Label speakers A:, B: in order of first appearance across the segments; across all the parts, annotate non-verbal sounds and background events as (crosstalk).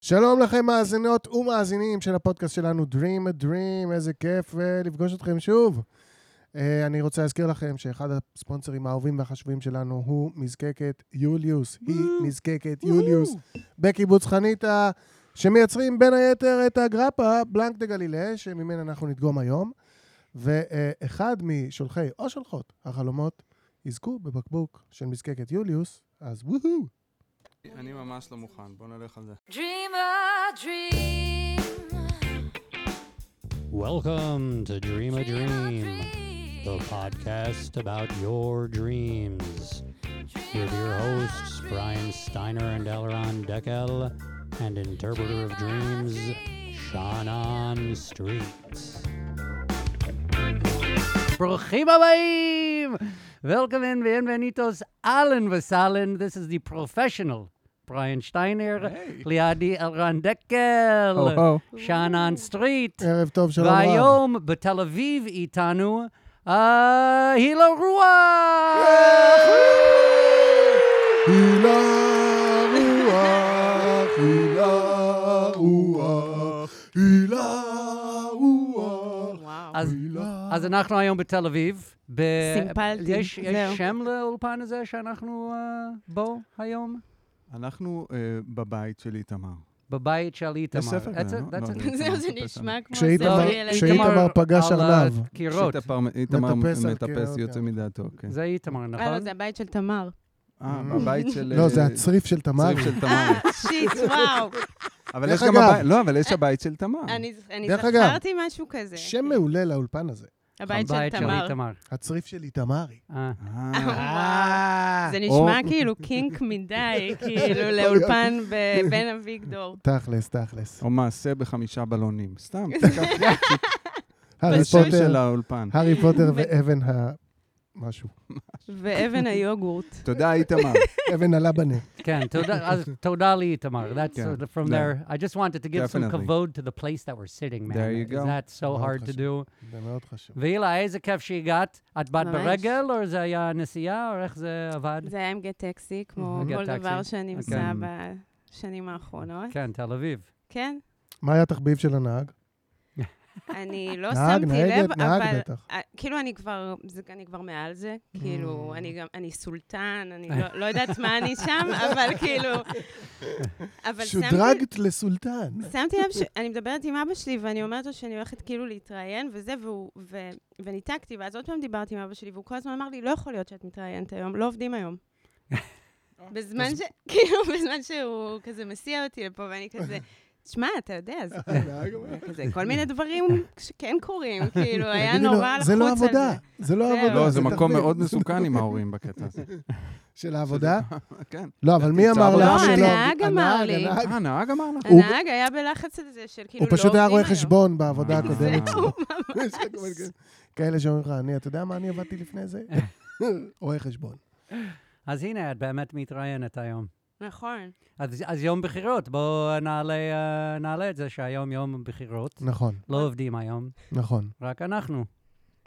A: שלום לכם מאזינות ומאזינים של הפודקאסט שלנו Dream a Dream, איזה כיף אה, לפגוש אתכם שוב. אה, אני רוצה להזכיר לכם שאחד הספונסרים האהובים והחשובים שלנו הוא מזקקת יוליוס. היא מזקקת יוליוס בקיבוץ חניתה, שמייצרים בין היתר את הגרפה בלנק דה גלילה, שממנה אנחנו נדגום היום. ואחד משולחי או שולחות החלומות יזכו בבקבוק של מזקקת יוליוס, אז וואו.
B: אני ממש לא מוכן, בוא נלך על זה.
C: Dream a dream.
D: Welcome to Dream a Dream,
C: dream.
D: the podcast about your dreams. With your hosts, Brian Steiner and Elron Deckel, and interpreter of dreams, Shannon Streets.
E: ברוכים הבאים! Welcome and bienvenidos, Alan Vasalin. This is the professional Brian Steiner,
B: היי.
E: ליעדי אלרן דקל, שאנן סטריט.
A: ערב טוב, שלום רב.
E: והיום בתל אביב איתנו אה, הילה רוח!
A: הילה רוח, הילה רוח, הילה רוח.
E: אז- אז אנחנו היום בתל אביב. ב-
F: סימפלתי,
E: יש יש
F: זהו.
E: שם לאולפן הזה שאנחנו אה, בו היום?
B: אנחנו אה, בבית של איתמר.
E: בבית של איתמר.
B: יש ספר
E: That's
B: כזה,
E: a-
B: לא?
E: that's
B: לא,
E: a-
B: אני לא
F: זהו, זה
B: מספר
F: נשמע כמו
A: כשהיית
E: לא,
A: איתמר-
F: סיפור ילדים.
A: כשהיית- שאיתמר פגש
E: על
A: ארנב.
E: הקירות.
B: איתמר איתמר
A: מטפס על
B: מטפס
A: קירות,
B: יוצא
A: כן.
B: מדעתו, כן.
E: זה איתמר,
F: אה, לא,
E: נכון?
F: זה
A: (laughs)
F: הבית של תמר.
B: אה, בבית של...
A: לא,
B: אה,
A: זה הצריף של תמרי.
B: צריף של תמר.
F: אה, שיט, וואו.
B: אבל
A: דרך
B: יש גם
A: אגב. אה,
B: הבית... לא, אבל יש הבית של תמר.
F: אני ז- אני
A: דרך אגב,
F: זכרתי משהו כזה.
A: שם מעולה לאולפן הזה.
F: הבית של תמר.
E: איתמר.
A: הצריף של איתמרי.
E: אה.
F: (laughs)
B: אה,
F: זה
B: או-
F: נשמע כאילו קינק מדי, כאילו לאולפן ב- בן אביגדור.
A: תכלס, תכלס.
B: (laughs) או מעשה בחמישה בלונים.
F: (laughs)
B: סתם, תקח
A: הארי
F: פשוט.
B: של
A: פוטר,
B: האולפן.
A: הארי פוטר ואבן ה...
F: (laughs)
A: משהו.
F: ואבן היוגורט.
A: (laughs)
B: תודה, איתמר.
A: אבן הלבנה.
B: (laughs)
E: Ken, toda- as- toda li Tamar. That's
B: Yeah.
E: uh, the- from
B: Yeah.
E: there. I just wanted to give some
B: Definitely.
E: kavod to the place that we're sitting, man.
B: There you go.
E: Isn't that so
A: מאוד
E: hard to
A: חשוב.
E: do?
A: זה מאוד חשוב.
E: והילה, איזה כיף שהגעת. את באת
F: ממש.
E: ברגל, או זה היה נסיעה, או uh, איך זה עבד?
F: זה היה עם גט
A: אוקיי,
F: טקסי, כמו
E: Mhm. גט
F: כל
E: טקסי.
F: דבר שאני עושה
B: אוקיי.
F: בשנים האחרונות.
E: כן, תל אביב.
F: כן,
A: מה היה התחביב של הנהג? (laughs)
F: אני לא
A: נהג,
F: שמתי לב,
A: נהגת, נהג
F: אבל
A: בטח.
F: אה, כאילו אני כבר, זה- אני כבר מעל זה, כאילו,
A: Mm.
F: אני גם, אני סולטן, אני לא- לא יודעת מה אני שם, (laughs) אבל כאילו... אבל שמתי-
A: (laughs) שודרגת לסולטן.
F: שמתי לב שאני מדברת עם אבא שלי, ואני אומרת לו שאני הולכת כאילו להתראיין, וזה, והוא, ו- וניתקתי, ואז עוד פעם דיברתי עם אבא שלי, והוא כל הזמן אמר לי, לא יכול להיות שאת מתראיינת היום, לא עובדים היום. בזמן ש... (laughs) כאילו, בזמן שהוא כזה מסיע אותי לפה, ואני כזה... תשמע, אתה יודע,
A: (laughs)
F: זה
A: הנהג אומר,
F: כזה, כל מיני דברים שכן
A: (laughs)
F: קורים, כאילו, היה
A: תגידי לו,
F: נורא לחוץ
A: זה
F: על
A: לא עבודה, זה לא
F: זהו.
A: עבודה.
B: לא, זה מקום
A: תחביב."
B: מאוד מסוכן עם ההורים בקטע הזה.
A: של העבודה?
B: (laughs) כן.
A: לא, אבל מי
B: תמצא
A: אמר
B: עבודה.
A: לך
B: לא,
A: שלא?
F: הנהג אמר לי. כאילו,
A: הנהג.
B: אה, הנהג אמר לך?
A: הוא-
F: הנהג היה בלחץ על זה של כאילו
A: הוא
F: לא
A: פשוט היה רואה
F: עובדים (laughs) היום.
A: חשבון בעבודה הקודמת. (laughs)
B: אה,
A: יש לך כל מיני כאלה שאומרים לך, אני, אתה יודע מה אני עבדתי לפני
B: (laughs)
A: זה? רואה חשבון.
E: אז הנה, את באמת מתראיינת היום.
F: נכון.
E: אז אז יום בחירות, בואו נעלה אה, נעלה את זה שהיום יום בחירות.
A: נכון,
E: לא עובדים היום,
A: נכון.
E: רק אנחנו.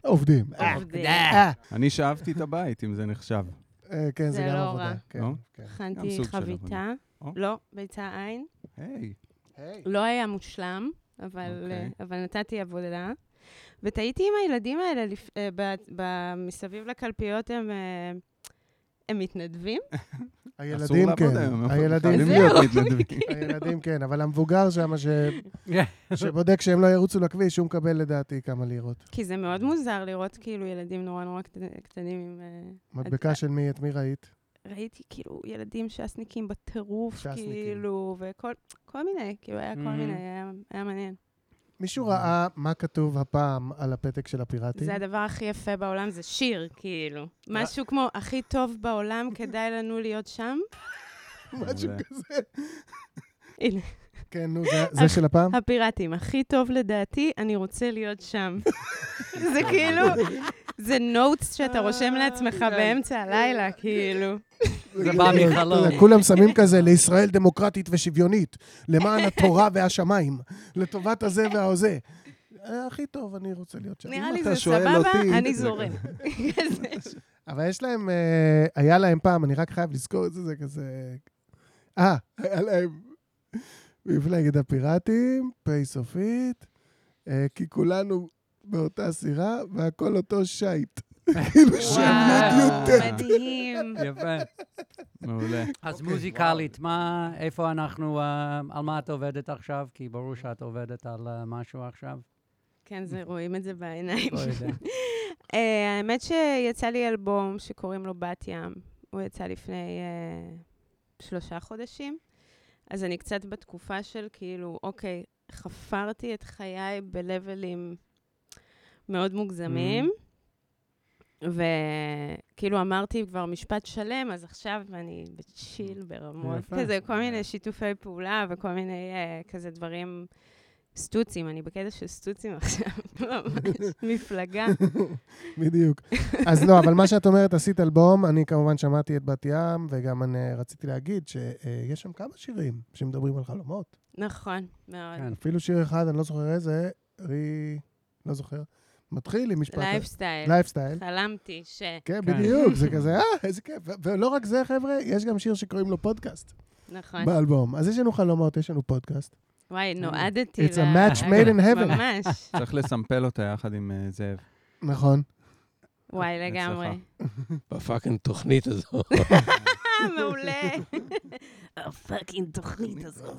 A: עובדים.
F: עובדים.
A: אה,
B: אני שאבתי את הבית, אם זה נחשב.
A: אה, כן, זה
F: זה
A: גם
F: לא
A: עבודה.
F: רע.
A: כן,
B: לא?
A: כן.
B: גם
F: הכנתי
B: סוג של
F: חביתה.
B: עבודה. או.
F: לא, ביצה עין.
B: היי.
A: היי,
F: לא היה מושלם, אבל
B: אוקיי.
F: אה, אבל נתתי עבודה. וטעיתי עם הילדים האלה לפ- אה, ב- ב- מסביב לקלפיות, הם... אה, הם מתנדבים?
B: אסור
A: הילדים
B: לעבוד היום,
A: כן,
B: אנחנו
A: הילדים
B: חייבים
A: כן,
B: להיות (laughs) מתנדבים.
A: (laughs) הילדים כן, אבל המבוגר שם ש-
B: (laughs)
A: שבודק שהם לא ירוצו לכביש, הוא מקבל לדעתי כמה לירות.
F: כי זה מאוד
B: אוקיי.
F: מוזר לראות כאילו ילדים נורא נורא קט- קטנים עם... אה,
A: מדבקה של מי, את מי ראית?
F: ראיתי כאילו ילדים ש"סניקים בטירוף,
A: ש"סניקים.
F: כאילו, וכל כל מיני, כאילו, היה כל
E: Mhm.
F: מיני, היה- היה מעניין.
A: מישהו ראה מה כתוב הפעם על הפתק של הפיראטים?
F: זה הדבר הכי יפה בעולם, זה שיר,
B: אה.
F: כאילו. משהו כמו, הכי טוב בעולם, כדאי לנו להיות שם.
A: (laughs) משהו
B: מעולה.
A: כזה.
F: (laughs) הנה,
A: כן, נו, זה- זה של הפעם?
F: אה, הפיראטים, הכי טוב לדעתי, אני רוצה להיות (laughs) שם. זה כאילו, זה נוטס שאתה רושם לעצמך באמצע הלילה, כאילו.
E: זה בא מחלום.
A: כולם שמים כזה לישראל דמוקרטית ושוויונית,
F: (laughs)
A: למען התורה והשמיים, לטובת הזה וההוזה. אה, הכי טוב, אני רוצה להיות שם.
F: נראה לי
B: אתה
F: זה
B: שואל אותי-
F: סבבה, אני
B: (laughs)
F: זורם. כזה.
A: אבל יש להם, אה, היה להם פעם, אני רק חייב לזכור את זה, זה כזה... אה, היה להם מפלגת הפיראטים, פ' סופית, אה, כי כולנו באותה סירה, והכל אותו שייט. כאילו שם יוד יוד ט'. (laughs)
F: מדהים.
E: יפה.
B: מעולה.
E: אז מוזיקלית, מה, איפה אנחנו, אה, על מה את עובדת עכשיו? כי ברור שאת עובדת על אה, משהו עכשיו.
F: כן, זה, רואים את זה בעיניים.
E: לא יודע.
F: אה, האמת שיצא לי אלבום שקוראים לו בת ים. הוא יצא לפני אה, שלושה חודשים. אז אני קצת בתקופה של כאילו, אוקיי, חפרתי את חיי בלבלים מאוד מוגזמים, וכאילו אמרתי כבר משפט שלם, אז עכשיו אני בצ'יל ברמות.
B: יפה.
F: כזה כל מיני שיתופי פעולה וכל מיני אה, כזה דברים, סטוצים, אני בקטע של סטוצים עכשיו, (laughs) לא, ממש
A: (laughs)
F: מפלגה.
A: בדיוק. אז לא, אבל מה שאת אומרת, עשית אלבום, אני כמובן שמעתי את בת ים, וגם אני רציתי להגיד שיש שם כמה שירים שמדברים על חלומות.
F: נכון, מאוד.
E: כן.
A: אפילו שיר אחד, אני לא זוכר איזה, רי... לא זוכר. מתחיל עם משפט...
F: לייפסטייל.
A: לייפסטייל.
F: חלמתי ש...
A: כן,
E: כן.
A: בדיוק, זה כזה, אה, איזה כיף. ו- ולא רק זה, חבר'ה, יש גם שיר שקוראים לו פודקאסט
F: נכון.
A: באלבום. אז יש לנו חלומות, יש לנו פודקאסט.
F: וואי, נועדתי
A: אה, It's a match made
F: (laughs)
A: in heaven.
F: ממש.
B: צריך לסמפל אותה יחד עם אה, זאב.
A: נכון.
F: וואי, לגמרי.
A: (laughs)
G: בפאקינג תוכנית הזו.
F: אה, מעולה.
A: (laughs)
F: הפאקינג
B: (laughs)
F: תוכנית הזאת.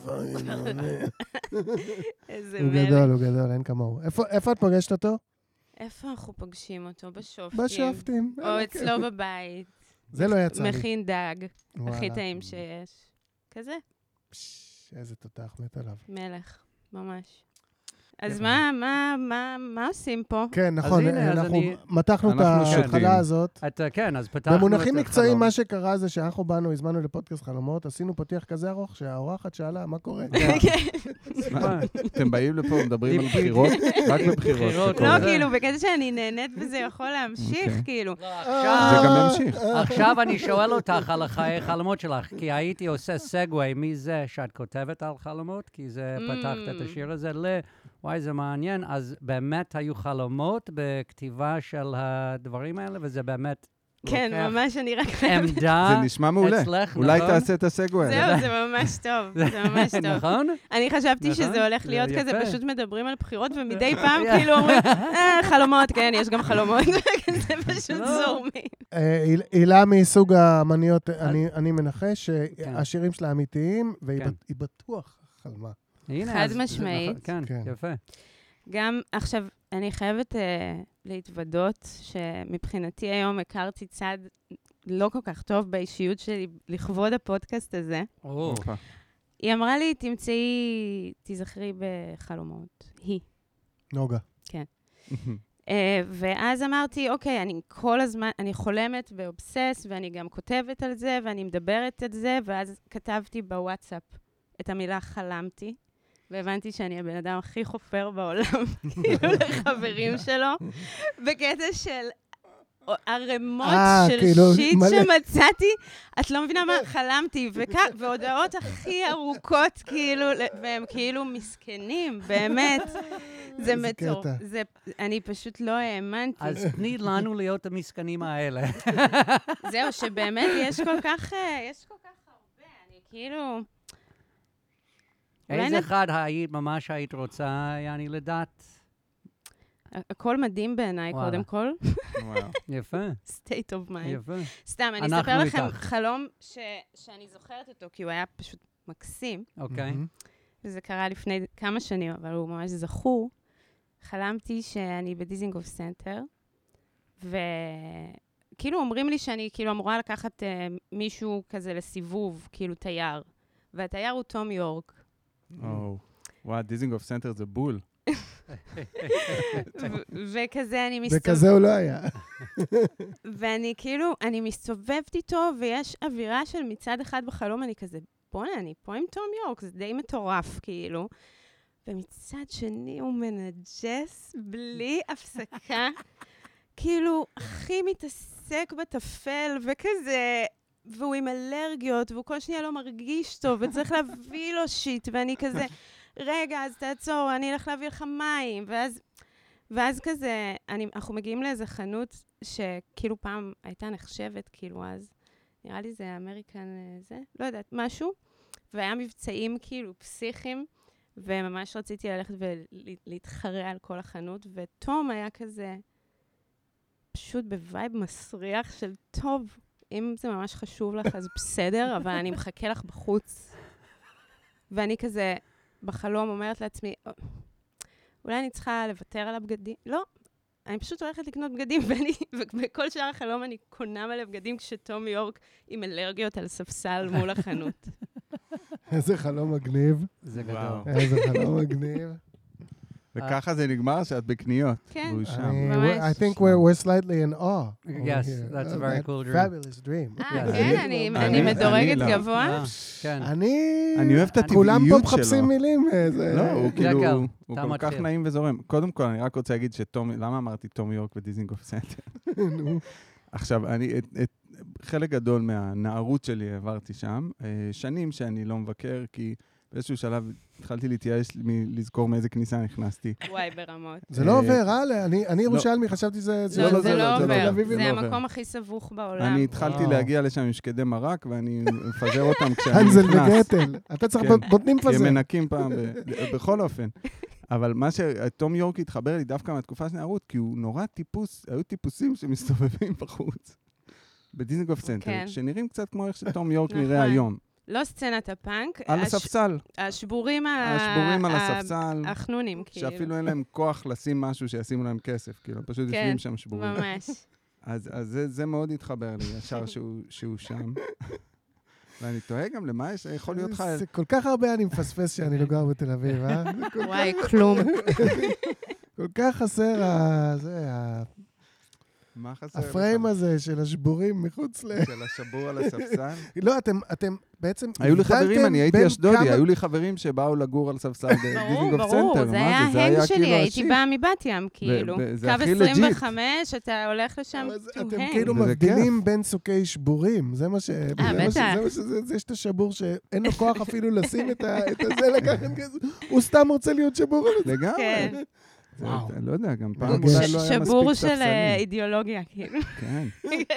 F: איזה
A: הוא
F: מלך.
A: גדול, הוא גדול, אין כמוהו. איפה- איפה את פוגשת אותו?
F: איפה אנחנו פוגשים אותו? בשופטים.
A: בשופטים.
F: כן.
A: אה, כן.
F: או אצלו בבית.
A: זה לא יצא לי.
F: מכין דג, הכי
A: וואלה.
F: טעים שיש. כזה,
A: פש, איזה תותח מת עליו.
F: מלך, ממש.
E: כן.
F: אז מה, מה, מה, מה עושים פה?
A: כן, נכון,
E: הנה, אז
A: אנחנו
E: אני-
A: מתחנו את
B: אנחנו שותים.
A: ההתחלה הזאת.
E: את, אה, כן, אז פתחנו את
A: במונחים
E: החלום.
A: מקצועיים, מה שקרה זה שאנחנו באנו, הזמנו לפודקאסט חלומות, עשינו פתיח כזה ארוך שהאורחת שאלה, מה קורה?
E: (laughs) כן.
F: (laughs) כן,
B: מה, אתם באים לפה, מדברים על בחירות? רק בבחירות.
E: בחירות,
B: זה קורה.
F: לא,
E: זה-
F: כאילו, בקטע שאני נהנית וזה יכול להמשיך,
B: אוקיי.
F: כאילו.
E: לא,
B: זה
E: אה, עכשיו,
B: גם ימשיך.
E: עכשיו אני שואל אותך על החיי חלומות שלך, כי הייתי עושה סגווי מזה שאת כותבת על חלומות, כי זה פתחת את
F: Mm.
E: השיר הזה ל... וואי, זה מעניין. אז באמת היו חלומות בכתיבה של הדברים האלה, וזה באמת
F: כן,
E: לוקח
F: ממש,
E: (laughs)
F: אני רק חייבת...
E: עמדה
B: זה נשמע מעולה.
E: אצלך,
B: אולי
E: נכון? (laughs)
B: תעשה את הסגווי.
F: זהו, זה ממש טוב, זה ממש טוב. (laughs)
E: נכון?
F: אני חשבתי
E: נכון,
F: שזה הולך
E: זה
F: להיות כזה,
E: יפה.
F: פשוט מדברים על
E: (laughs)
F: בחירות, ומדי פעם כאילו אומרים, אה, חלומות, כן, יש גם חלומות, (laughs) זה פשוט
E: לא.
F: זורמים.
A: אה, היל- הילה מסוג האמניות, אני אני מנחש
E: כן.
A: שהשירים שלה אמיתיים, והיא
E: כן.
A: בת- היא בטוח חלמה.
E: הנה,
F: חד
E: אז זה
F: משמעית.
E: נכון, כן,
A: כן.
E: יפה.
F: גם עכשיו, אני חייבת אה, להתוודות שמבחינתי היום הכרתי צד לא כל כך טוב באישיות שלי לכבוד הפודקאסט הזה.
E: או,
B: (laughs)
F: אוקיי.
B: הופה.
F: היא אמרה לי, תמצאי, תיזכרי בחלומות. היא.
A: נוגה.
F: אה, ואז אמרתי, אוקיי, אני כל הזמן, אני חולמת באובסס, ואני גם כותבת על זה, ואני מדברת על זה, ואז כתבתי בוואטסאפ את המילה חלמתי, והבנתי שאני הבן אדם הכי חופר בעולם, (laughs) כאילו לחברים שלו, בקטע של... ערימות
A: אה,
F: של
A: כאילו,
F: שיט
A: מלא.
F: שמצאתי, את לא
A: (laughs)
F: מבינה מה, חלמתי, וכ- והודעות הכי ארוכות, כאילו, ל- והם כאילו מסכנים, באמת. זה
A: איזה
F: מטורף.
A: קטע.
F: זה, אני פשוט לא האמנתי.
E: אז תני לנו להיות המסכנים האלה.
F: זהו, שבאמת יש כל כך, אה, יש כל כך הרבה, אני כאילו... אולי
E: איזה
F: נ-
E: אחד היית, ממש היית רוצה, יעני, לדעת?
F: הכל מדהים בעיניי,
E: וואלה.
F: קודם כל.
B: וואו.
E: יפה,
F: (laughs) state of mind.
E: יפה.
F: סתם, אני
E: אנחנו
F: אספר לכם
E: איתך.
F: חלום ש- שאני זוכרת אותו, כי הוא היה פשוט מקסים,
E: אוקיי.
A: מהמם.
F: וזה קרה לפני כמה שנים, אבל הוא ממש זכור. חלמתי שאני בדיזינגוף סנטר, וכאילו אומרים לי שאני כאילו אמורה לקחת אה, מישהו כזה לסיבוב, כאילו תייר, והתייר הוא תום יורק.
B: או. וואו, דיזינגוף סנטר זה בול.
F: ו- וכזה אני מסתובבת,
A: וכזה הוא לא היה. (laughs)
F: ואני כאילו, אני מסתובבת איתו, ויש אווירה של מצד אחד בחלום, אני כזה, בואנה, אני פה עם תום יורק, זה די מטורף, כאילו. ומצד שני הוא מנג'ס בלי הפסקה. כאילו, הכי מתעסק בטפל, וכזה... והוא עם אלרגיות, והוא כל שנייה לא מרגיש טוב, וצריך להביא לו שיט, ואני כזה, רגע, אז תעצור, אני אלך להביא לך מים. ואז, ואז כזה, אני, אנחנו מגיעים לאיזה חנות שכאילו פעם הייתה נחשבת, כאילו אז, נראה לי זה אמריקן אה, זה, לא יודעת, משהו. והיה מבצעים כאילו פסיכיים, וממש רציתי ללכת ולהתחרה על כל החנות, ותום היה כזה פשוט בווייב מסריח של טוב, אם זה ממש חשוב לך אז בסדר, אבל אני מחכה לך בחוץ. ואני כזה בחלום אומרת לעצמי, "אה, אולי אני צריכה לוותר על הבגדים? לא, אני פשוט הולכת לקנות בגדים, (laughs) ואני, ובכל שאר החלום אני קונה מלא בגדים כשתום יורק עם אלרגיות על ספסל מול החנות.
A: איזה חלום מגניב.
E: זה
B: וואו.
E: גדול.
A: איזה חלום מגניב.
B: וככה זה נגמר, שאת בקניות.
F: כן.
B: והוא שם.
A: אני-
F: ממש.
A: I think we're we're slightly in awe. over
E: Yes,
A: here.
E: that's a
A: Oh,
E: very
A: that
E: cool dream.
A: Fabulous dream.
F: אה,
E: כן,
F: כן,
A: אני-
F: אני-
B: אני-
F: אני מדורגת
B: אני לא.
F: גבוה.
E: אה, כן.
A: אני...
B: אני אוהב את הטבעיות שלו.
A: כולם פה מחפשים מילים. אה, זה-
B: לא, הוא
E: זה
B: כאילו,
E: הקו,
B: הוא
E: אתה
B: כל כך
E: מתחיל.
B: נעים וזורם. קודם כל, אני רק רוצה להגיד שתום, למה אמרתי תום יורק ודיזינגוף (laughs) סנטר?
A: נו.
B: עכשיו, אני, את- את- חלק גדול מהנערות שלי העברתי שם. אה, שנים שאני לא מבקר, כי באיזשהו שלב התחלתי להתייאש מלזכור מאיזה כניסה נכנסתי.
F: וואי, ברמות.
A: זה לא
B: אה,
A: עובר, אה? אני- אני ירושלמי, חשבתי שזה...
B: לא,
F: לא, זה לא
B: תל
F: עובר.
B: אביב
F: זה
B: לא עובר.
F: המקום הכי סבוך בעולם.
B: אני התחלתי
A: וואו.
B: להגיע לשם עם שקדי מרק, ואני מפזר אותם כשאני נכנס.
A: הנזל וגטל. אתה צריך
B: כן.
A: בוט- בוטנים
B: כי הם
A: פזה.
B: מנקים פעם, ב- בכל אופן. אבל מה שתום יורק התחבר לי דווקא מהתקופה של נערות, כי הוא נורא טיפוס, היו טיפוסים שמסתובבים (laughs) בחוץ. בדיזנגוף סנטר,
F: כן.
B: שנראים קצת כמו איך שתום יורק נראה
F: נכון.
B: היום.
F: לא סצנת הפאנק,
B: על
F: הש-
B: הספסל,
F: השבורים ה-
B: השבורים על
F: ה-
B: הספסל,
F: החנונים, כאילו.
B: שאפילו אין להם כוח לשים משהו שישימו להם כסף, כאילו, הם פשוט
F: כן,
B: יושבים שם שבורים. (laughs)
F: ממש.
B: אז אז זה- זה מאוד התחבר לי, ישר שהוא- שהוא שם. (laughs) ואני תוהה גם למה יש, יכול להיות לך...
A: זה כל כך הרבה אני מפספס שאני לא גר בתל אביב, אה? זה כל-
F: וואי, כלום.
A: (laughs) כל כך חסר ה- זה, ה-
B: מה חסר לך?
A: הפריים הזה של השבורים מחוץ ל... (laughs)
B: של השבור על הספסל?
A: לא, אתם- אתם בעצם...
B: היו לי
A: הבדלתם
B: חברים, אני הייתי
A: בין
B: אשדודי,
A: כמה-
B: היו לי חברים שבאו לגור על ספסל
F: ברור,
B: בדיזינגוף
F: ברור,
B: סנטר.
F: זה
B: מה
F: היה
B: זה
F: ההנג
B: כאילו
F: שלי, הייתי
B: השיט.
F: באה מבת ים, כאילו.
B: ב- זה
F: קו
B: הכי לג'יט.
F: 25, אתה הולך לשם
A: אבל זה-
F: to
A: אתם
F: hang. אה,
A: כאילו
B: וזה
A: מבדילים בין סוגי שבורים, זה מה ש... זה מה ש-
F: בטח.
A: זה מה ש- זה- זה יש את השבור שאין לו כוח אפילו לשים את ה- את הזה, לקחת כזה, הוא סתם רוצה להיות שבור על זה.
B: לגמרי.
F: כן.
B: זה-
E: וואו.
B: אני לא יודע, גם פעם
A: ש-
B: אולי
F: ש-
B: לא היה מספיק
F: שבור של אה,
B: ספסלים.
F: אידיאולוגיה, כאילו.
B: כן.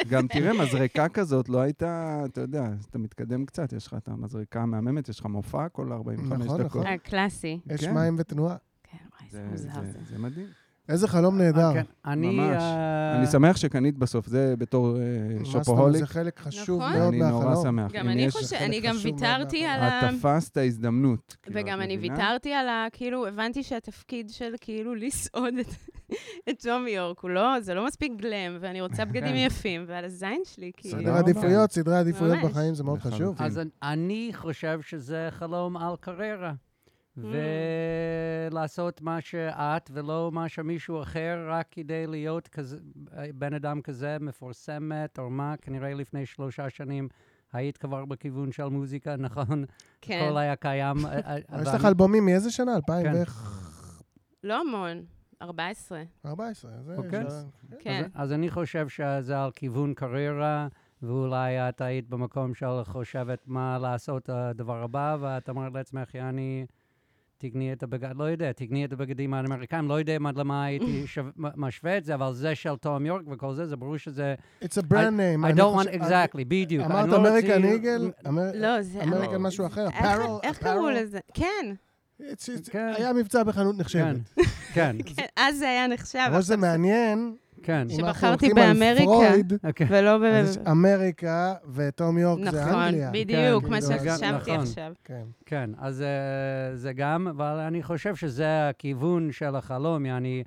B: גם תראה, מזרקה כזאת לא הייתה, אתה יודע, אתה מתקדם קצת, יש לך את המזרקה המהממת, יש לך מופע כל 45
A: נכון,
B: דקות.
A: נכון.
F: (laughs) הקלאסי.
A: יש
B: כן.
A: מים ותנועה.
F: כן, וואי, זה
B: זה-
F: מוזר
B: זה-
F: זה.
B: זה מדהים.
A: איזה חלום נהדר.
E: כן, אני...
B: ממש.
E: אה,
B: אני שמח שקנית בסוף, זה בתור אה,
A: מה זאת אומרת,
B: שופוהוליק.
A: זה חלק חשוב
F: נכון.
A: מאוד
B: אני נורא
A: מהחלום.
B: שמח.
F: גם
B: אם
F: אני
B: יש-
F: חושבת,
A: חלק
F: אני גם
A: חשוב מאוד
F: ויתרתי על ה...
B: את תפסת הזדמנות. כאילו,
F: וגם
B: את
F: אני
B: מבינה?
F: ויתרתי על ה... כאילו, הבנתי שהתפקיד של כאילו לסעוד את- (laughs) את תום יורק, הוא לא, זה לא מספיק גלם, ואני רוצה בגדים
B: כן.
F: יפים, ועל הזין שלי, כאילו.
A: סדר עדיפויות, סדרי עדיפויות
F: ממש.
A: בחיים זה מאוד חשוב.
B: לחלוטין.
E: אז אני חושב שזה חלום על קריירה.
F: Mm.
E: ולעשות מה שאת ולא מה שמישהו אחר, רק כדי להיות כזה, אה, בן אדם כזה מפורסמת, או מה, כנראה לפני שלושה שנים היית כבר בכיוון של מוזיקה, נכון?
F: כן.
E: הכל היה קיים. אה, אה,
A: יש
E: אבל-
A: לך אלבומים מאיזה שנה? 2014.
F: לא המון, 14.
A: זה
E: אוקיי.
A: אפשר-
F: כן.
E: אז, אז אני חושב שזה על כיוון קריירה, ואולי את היית במקום של חושבת מה לעשות הדבר הבא, ואת אמרת לעצמך, יעני, תקני את הבגד, לא יודע, תקני את הבגדים האמריקאים, לא יודע מה- למה
A: (laughs)
E: הייתי שו... מ- משווה את זה, אבל זה של תום יורק וכל זה, זה ברור שזה...
A: It's a brand name.
E: I
A: אני
E: don't want,
A: חושב-
E: exactly, בדיוק. אני
A: אמרת
E: לא
A: אמריקן
E: רוצה-
A: איגל?
F: לא, זה...
A: אמריקן משהו אחר,
F: איך-
A: apparel,
F: איך קראו
A: apparel.
F: לזה? כן,
A: It's- it's-
E: כן.
A: היה מבצע בחנות
E: כן,
A: נחשבת.
E: כן,
F: כן, אז זה היה נחשב.
A: אבל זה
F: עכשיו
A: מעניין, (laughs)
E: כן. (laughs)
A: אם אנחנו
F: שבחרתי
A: הולכים על
F: באמריקה.
A: פרויד,
E: אוקיי.
F: זה- ולא ב...
A: אז יש אמריקה וטום יורק אוקיי, זה
F: נכון,
A: אנגליה.
F: בדיוק,
A: כן,
F: מה
A: כאילו, אז-
F: שחשבתי
E: נכון.
F: עכשיו.
A: כן.
E: כן, אז אה, זה גם, אבל אני חושב שזה הכיוון של החלום, יעני,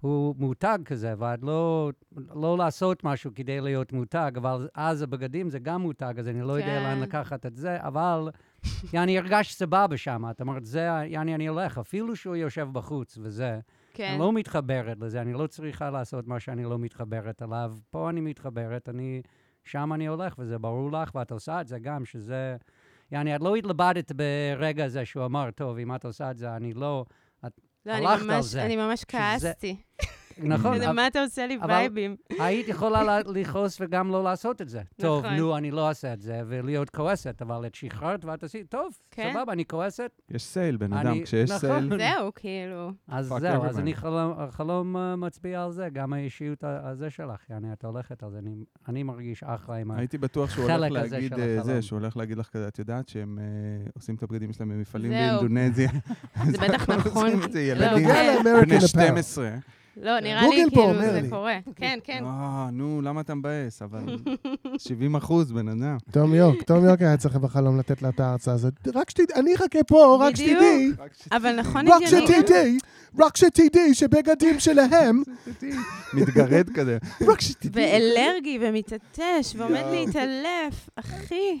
E: הוא מותג כזה, ועד לא, לא לעשות משהו כדי להיות מותג, אבל אז הבגדים זה גם מותג, אז אני לא יודע
F: כן.
E: לאן לקחת את זה, אבל יעני, הרגשת סבבה שם, את אמרת, זה, יעני, אני הולך, אפילו שהוא יושב בחוץ וזה.
F: כן.
E: אני לא מתחברת לזה, אני לא צריכה לעשות מה שאני לא מתחברת אליו. פה אני מתחברת, אני... שם אני הולך, וזה ברור לך, ואת עושה את זה גם, שזה... יעני, את לא התלבטת ברגע הזה שהוא אמר, טוב, אם את עושה את זה, אני לא...
F: לא, אני
E: הלכת על
F: ממש-
E: זה.
F: אני ממש
E: שזה-
F: כעסתי.
E: נכון,
F: כזה,
E: אבל
F: מה אתה עושה לי
E: אבל-
F: וייבים?
E: היית יכולה לה- לכעוס וגם לא לעשות את זה. טוב,
F: נכון.
E: נו, אני לא אעשה את זה, ולהיות כועסת, אבל את שחררת ואת עשית, טוב,
F: כן.
E: סבבה, אני כועסת,
B: יש סייל, בן
E: אני-
B: אדם, כשיש
E: נכון.
B: סייל...
F: זהו, כאילו.
E: אז
B: Fuck
E: זהו, אז
B: everyone.
E: אני חלום, החלום אה, מצביע על זה, גם האישיות ה- הזה שלך, יעני, את הולכת, אז אני, אני מרגיש אחלה עם ה...
B: הייתי בטוח שהוא הולך
E: החלק הזה
B: להגיד
E: של
B: אה,
E: החלום.
B: זה, שהוא הולך להגיד לך כזה, את יודעת שהם אה, עושים את הבגדים שלהם במפעלים
F: זהו.
A: (laughs)
B: באינדונזיה.
F: זה בטח
B: אנחנו
F: נכון.
B: עושים את זה,
F: לא,
B: ילדים כן,
F: זה-
A: כן. אוקיי,
B: בני 12.
F: לא, נראה לי
A: גוגל פה
F: כאילו
A: אומר
F: זה
A: לי.
F: קורה. כן, כן.
B: אה, נו, למה אתה מבאס? אבל 70 אחוז, בן אדם.
A: תום יורק, תום יורק היה צריך בחלום לתת לה את ההרצאה הזאת. רק שתדעי, אני אחכה פה, רק
F: בדיוק.
A: שתדעי,
F: אבל נכון
A: רק
F: הגיוני גם-
A: שתדעי, רק שתדעי שבגדים שלהם,
B: מתגרד
A: (laughs)
B: כזה. רק שתדעי.
F: ואלרגי ומתעטש ועומד להתעלף, אחי.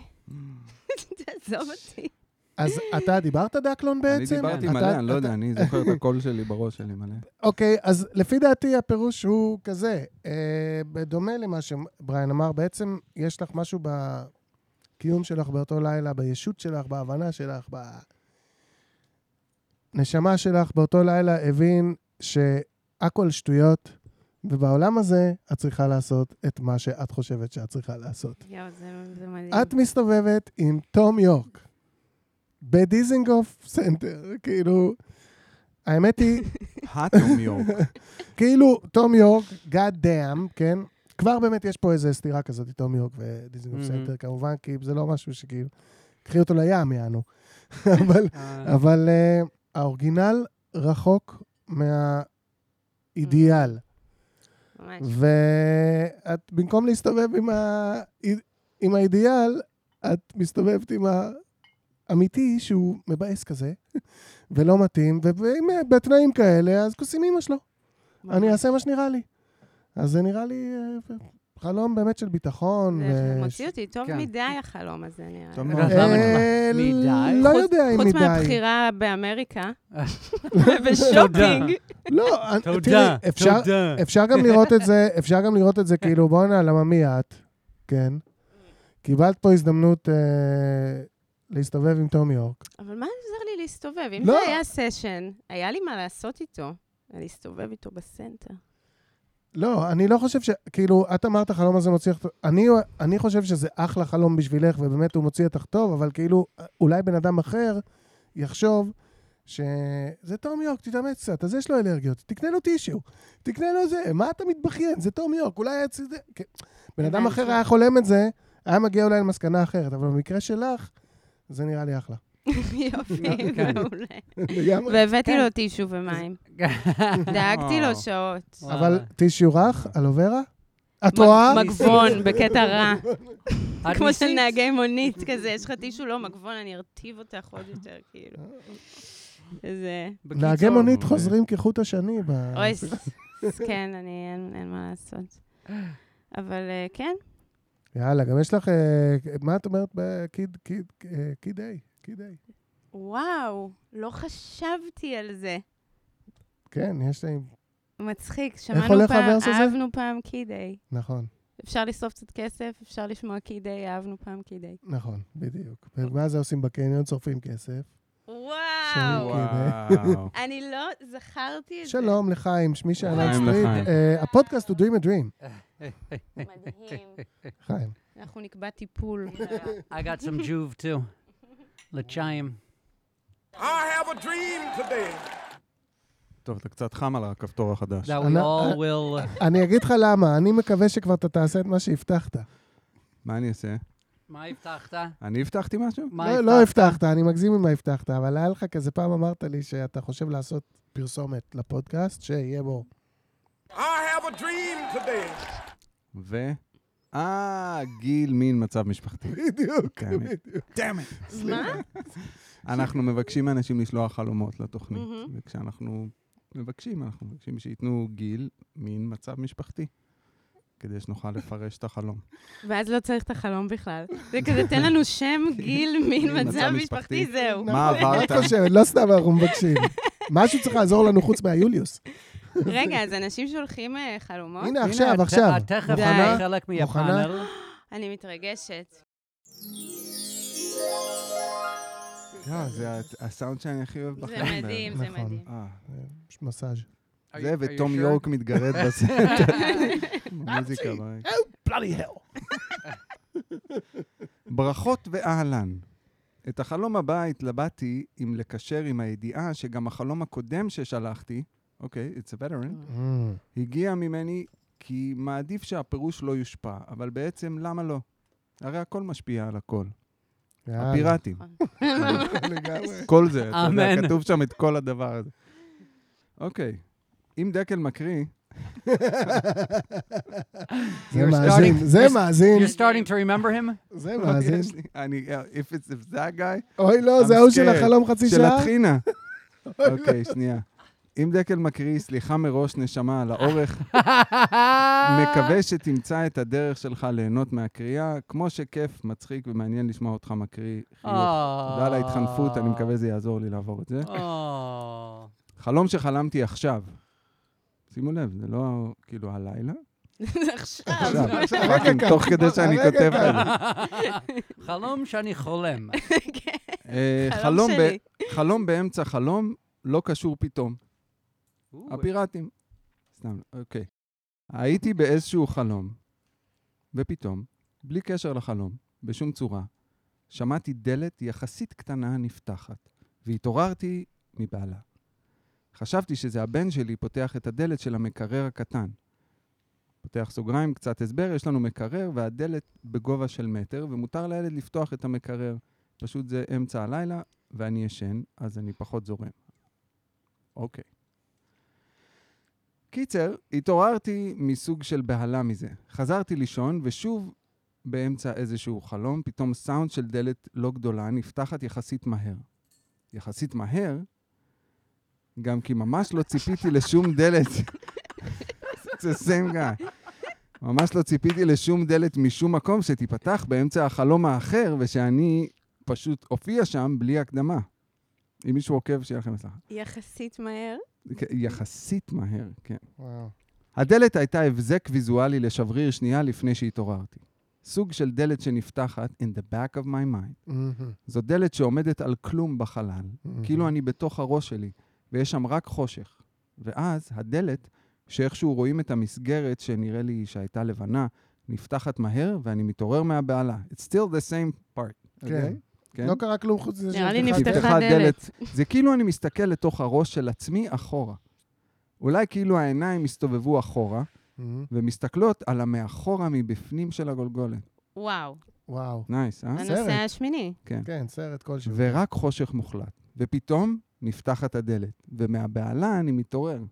F: תעזוב אותי.
A: אז אתה דיברת דקלון
B: אני
A: בעצם?
B: דיברתי
A: אתה-
B: מלא, אני לא
A: אתה-
B: יודע, אני זוכר את הקול שלי בראש שלי מלא.
A: אוקיי, אז לפי דעתי הפירוש הוא כזה, אה, בדומה למה שבריין אמר, בעצם יש לך משהו בקיום שלך באותו לילה, בישות שלך, בהבנה שלך, בנשמה שלך באותו לילה הבין שהכל שטויות, ובעולם הזה את צריכה לעשות את מה שאת חושבת שאת צריכה לעשות.
F: יואו, זה זה מדהים.
A: את מסתובבת עם תום יורק בדיזינגוף סנטר, כאילו, האמת היא...
B: האטום יורק.
A: כאילו, תום יורק, God damn, כן? כבר באמת יש פה איזו סתירה כזאת, תום יורק ודיזנגוף
E: מהמם.
A: סנטר, כמובן, כי זה לא משהו שכאילו... קחי אותו לים, יענו. (laughs) אבל,
E: אה,
A: אבל אה, האורגינל רחוק מהאידיאל.
F: (laughs) ממש.
A: ואת, במקום להסתובב עם, ה... עם האידיאל, את מסתובבת עם האמיתי, שהוא מבאס כזה, (laughs) ולא מתאים, ובתנאים כאלה, אז כוס עם אמא שלו. אני אעשה מה שנראה לי. אז זה נראה לי אה, חלום באמת של ביטחון.
F: זה
A: ו-
F: מוציא אותי טוב
E: כן.
F: מדי החלום הזה, נראה
B: טוב
F: לי.
B: מאוד.
E: אה,
A: אה,
E: מדי?
A: לא
E: חוץ-
A: יודע אם
F: חוץ
A: מדי.
F: מהבחירה
A: (laughs)
F: באמריקה ובשופינג.
A: לא, אני-
E: תודה,
A: תראי, אפשר-
E: תודה.
A: אפשר גם לראות את זה, אפשר גם לראות את זה כאילו, בואנה, למה מי את? כן. קיבלת פה הזדמנות אה, להסתובב עם תום יורק.
F: אבל מה עוזר לי להסתובב? אם
A: לא.
F: זה היה סשן, היה לי מה לעשות איתו. להסתובב איתו בסנטר.
A: לא, אני לא חושב ש... כאילו, את אמרת החלום הזה מוציא אותך... אני, אני חושב שזה אחלה חלום בשבילך, ובאמת הוא מוציא אותך טוב, אבל כאילו, אולי בן אדם אחר יחשוב שזה תום יורק, תתאמץ קצת, אז יש לו אלרגיות, תקנה לו טישו, תקנה לו זה, מה אתה מתבכיין? זה תום יורק, אולי היה צריך... כן. בן אדם
F: הבנתי.
A: אחר היה חולם את זה, היה מגיע אולי למסקנה אחרת, אבל במקרה שלך, זה נראה לי אחלה.
F: (laughs) יופי,
E: כן.
F: מעולה.
A: לגמרי.
F: והבאתי
E: כן.
F: לו טישו ומים. דאגתי לו שעות.
A: אבל טישו רך, אלו ורה? את
F: מג-
A: רואה?
F: (laughs) מגבון, בקטע רע.
E: את
F: כמו של
E: ניסית?
F: נהגי מונית כזה, יש לך טישו, לא מגבון, אני ארטיב אותך עוד יותר, כאילו. זה...
E: בקיצור,
A: נהגי מונית
B: אה,
A: חוזרים כחוט השני. ב-
F: אוי, ס- כן, אני, אין- אין מה לעשות. אבל אה, כן,
A: יאללה, גם יש לך, אה, מה את אומרת בקיד, קיד, אה, קיד איי, קיד איי.
F: וואו, לא חשבתי על זה.
A: כן, יש להם,
F: מצחיק, שמענו
A: הולך
F: פעם,
A: הוורס הזה?
F: אהבנו פעם קידיי.
A: נכון,
F: אפשר לשרוף קצת כסף, אפשר לשמוע קידיי, אהבנו פעם קידיי.
A: נכון, בדיוק. ומה זה עושים בקניון? שורפים כסף.
F: וואו,
A: אוקיי,
B: וואו.
F: אני לא זכרתי את זה.
A: שלום לחיים, שמי שעלה
B: חיים
A: סטריט.
B: לחיים.
A: אה, הפודקאסט הוא Dream a Dream.
F: מדהים. לא
A: חיים.
F: (laughs) אנחנו נקבע טיפול.
E: I got some juve too. לצ'יים.
H: I have a dream today.
B: טוב, אתה קצת חם על הכפתור החדש.
E: That we
A: אני-
E: all will...
A: אני אגיד לך למה, אני מקווה שכבר אתה תעשה את מה שהבטחת.
B: מה אני אעשה?
E: מה הבטחת?
B: אני הבטחתי משהו?
E: מה
A: לא- לא הבטחת, אני מגזים עם מה הבטחת, אבל היה לך כזה פעם אמרת לי שאתה חושב לעשות פרסומת לפודקאסט, שיהיה בו.
H: I have a dream today.
B: ו... אה, גיל מין מצב משפחתי.
A: (laughs) בדיוק,
B: כן, אני-
A: בדיוק.
F: מה?
B: אנחנו מבקשים מאנשים לשלוח חלומות לתוכנית,
F: מהמם.
B: וכשאנחנו מבקשים, אנחנו מבקשים שייתנו גיל מין מצב משפחתי, כדי שנוכל לפרש
A: (laughs)
B: את החלום.
F: ואז לא צריך את החלום בכלל. זה כזה, תן לנו שם,
A: (laughs)
F: גיל, מין,
B: מצב
F: מצב
B: משפחתי.
F: משפחתי, זהו.
B: מה
A: נכון. אני
B: עברת?
A: חושבת, לא סתם אנחנו מבקשים. משהו צריך לעזור לנו חוץ מהיוליוס.
F: (laughs) רגע, אז אנשים שולחים אה, חלומות?
A: הנה,
E: הנה,
A: עכשיו,
E: את-
A: עכשיו.
E: את תכף
A: מוכנה?
E: תהיה חלק
A: מוכנה?
E: מהפאנל.
F: אני מתרגשת.
B: אה, זה ה- הסאונד שאני הכי אוהב
F: זה
B: בחיים.
F: מדהים, זה
A: נכון.
F: מדהים. (laughs)
B: אה,
A: יש מסאז'.
B: זה,
I: are you
B: וטום
I: sure?
B: יורק מתגרד
F: (laughs)
B: בסרט. מוזיקה ברקע.
A: בלאדי הל.
B: ברכות ואהלן. את החלום הבא התלבטתי אם לקשר עם הידיעה שגם החלום הקודם ששלחתי, אוקיי, it's a veteran,
A: Mm,
B: הגיע ממני כי מעדיף שהפירוש לא יושפע, אבל בעצם למה לא? הרי הכל משפיע על הכל. הפיראטים.
A: נכון.
B: (laughs) כל זה, אתה יודע,
E: אמן.
B: כתוב שם את כל הדבר הזה. אוקיי, אם דקל מקריא,
A: זה
E: You're
A: מאזין,
E: starting-
A: זה
E: you're-
A: מאזין,
E: You're starting to remember him?
A: (laughs) זה
B: לא,
A: מאזין.
B: (laughs) יש לי- אני, אה, if it's if that guy,
A: אוי לא,
B: I'm
A: זה ההוא של
B: scared.
A: החלום חצי
B: של
A: שעה?
B: הטחינה. אוקיי, שנייה. אם דקל מקריא, סליחה מראש, נשמה, על האורך. מקווה שתמצא את הדרך שלך ליהנות מהקריאה, כמו שכיף, מצחיק ומעניין לשמוע אותך מקריא חיוך. תודה על ההתחנפות, אני מקווה זה יעזור לי לעבור את זה.
E: Oh.
B: חלום שחלמתי עכשיו. שימו לב, זה לא כאילו הלילה.
F: אה, עכשיו.
B: עכשיו,
F: (laughs) לא
B: פאקינג, תוך כדי שאני
A: הרגע
B: כותב
A: כאן.
B: את זה.
A: כן.
E: (laughs) חלום שאני חולם.
F: כן.
B: אה,
F: חלום
B: חלום ב-
F: שלי.
B: חלום באמצע חלום, לא קשור פתאום.
E: אוקיי.
B: הפיראטים. סתם, אוקיי. הייתי באיזשהו חלום, ופתאום, בלי קשר לחלום, בשום צורה, שמעתי דלת יחסית קטנה נפתחת, והתעוררתי מבעלה. חשבתי שזה הבן שלי פותח את הדלת של המקרר הקטן. פותח סוגריים, קצת הסבר, יש לנו מקרר והדלת בגובה של מטר, ומותר לילד לפתוח את המקרר. פשוט זה אמצע הלילה, ואני ישן, אז אני פחות זורם. אוקיי. קיצר, התעוררתי מסוג של בהלה מזה. חזרתי לישון, ושוב באמצע איזשהו חלום, פתאום סאונד של דלת לא גדולה נפתחת יחסית מהר. יחסית מהר, גם כי ממש לא ציפיתי לשום דלת. (laughs) זה same guy. ממש לא ציפיתי לשום דלת משום מקום שתיפתח באמצע החלום האחר, ושאני פשוט אופיע שם בלי הקדמה. אם מישהו עוקב, שיהיה לכם הצלחה.
F: יחסית מהר.
B: יחסית מהר, כן.
A: וואו.
B: הדלת הייתה הבזק ויזואלי לשבריר שנייה לפני שהתעוררתי. סוג של דלת שנפתחת in the back of my mind.
A: מהמם.
B: זו דלת שעומדת על כלום בחלל, כאילו אני בתוך הראש שלי, ויש שם רק חושך. ואז הדלת, שאיכשהו רואים את המסגרת שנראה לי שהייתה לבנה, נפתחת מהר ואני מתעורר מהבהלה. It's still the same part.
A: כן.
B: אוקיי? כן.
A: לא קרה כלום חוץ מזה
F: נראה לי
A: שנפתחה
F: נפתחה.
A: דלת.
F: דלת.
B: זה כאילו אני מסתכל לתוך הראש של עצמי אחורה. אולי כאילו העיניים הסתובבו אחורה,
A: מהמם.
B: ומסתכלות על המאחורה מבפנים של הגולגולת.
F: וואו.
A: וואו.
B: נייס, אה?
A: סרט.
F: הנושא השמיני.
A: כן, סרט כלשהו.
B: ורק חושך מוחלט. ופתאום נפתחת הדלת, ומהבהלה אני מתעורר.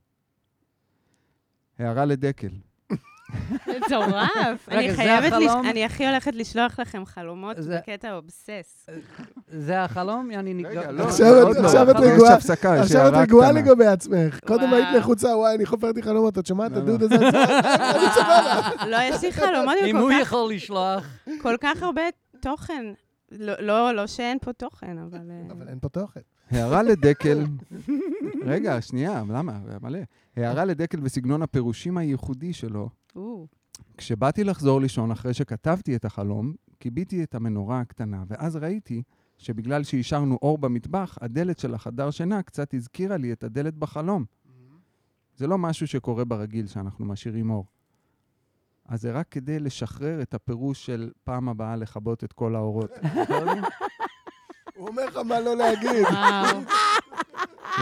B: הערה לדקל.
F: מטורף.
E: רגע,
F: אני
E: זה
F: חייבת, לש-
E: החלום?
F: אני הכי הולכת לשלוח לכם חלומות
E: זה-
F: בקטע אובסס.
E: זה החלום? יעני נגד...
A: עכשיו את-
B: עוד לא.
A: עכשיו את
B: יש
A: רגועה.
B: הפסקה, יש
A: עכשיו את
B: הערה
A: רגועה
B: אה, קטנה.
A: לגבי עצמך. קודם
F: וואו.
A: היית לחוצה, וואי, אני חופרתי חלומות, את שומעת את
B: לא, לא.
A: הדוד הזה?
B: (laughs)
A: אני סבבה.
F: לא, יש לי חלומות עם
E: אם
F: כל
E: הוא
F: כך-
E: יכול לשלוח...
F: כל כך הרבה תוכן. לא- לא, לא שאין פה תוכן, אבל... אה,
A: אבל אין פה תוכן.
B: הערה
A: (laughs)
B: לדקל... רגע, שנייה, למה? מלא. הערה לדקל בסגנון הפירושים הייחודי שלו,
F: או.
B: כשבאתי לחזור לישון אחרי שכתבתי את החלום, כיביתי את המנורה הקטנה, ואז ראיתי שבגלל שהשארנו אור במטבח, הדלת של החדר שינה קצת הזכירה לי את הדלת בחלום. זה לא משהו שקורה ברגיל שאנחנו משאירים אור. אז זה רק כדי לשחרר את הפירוש של פעם הבאה לכבות את כל האורות.
A: הוא אומר לך מה לא
F: (laughs)
A: להגיד.
F: וואו.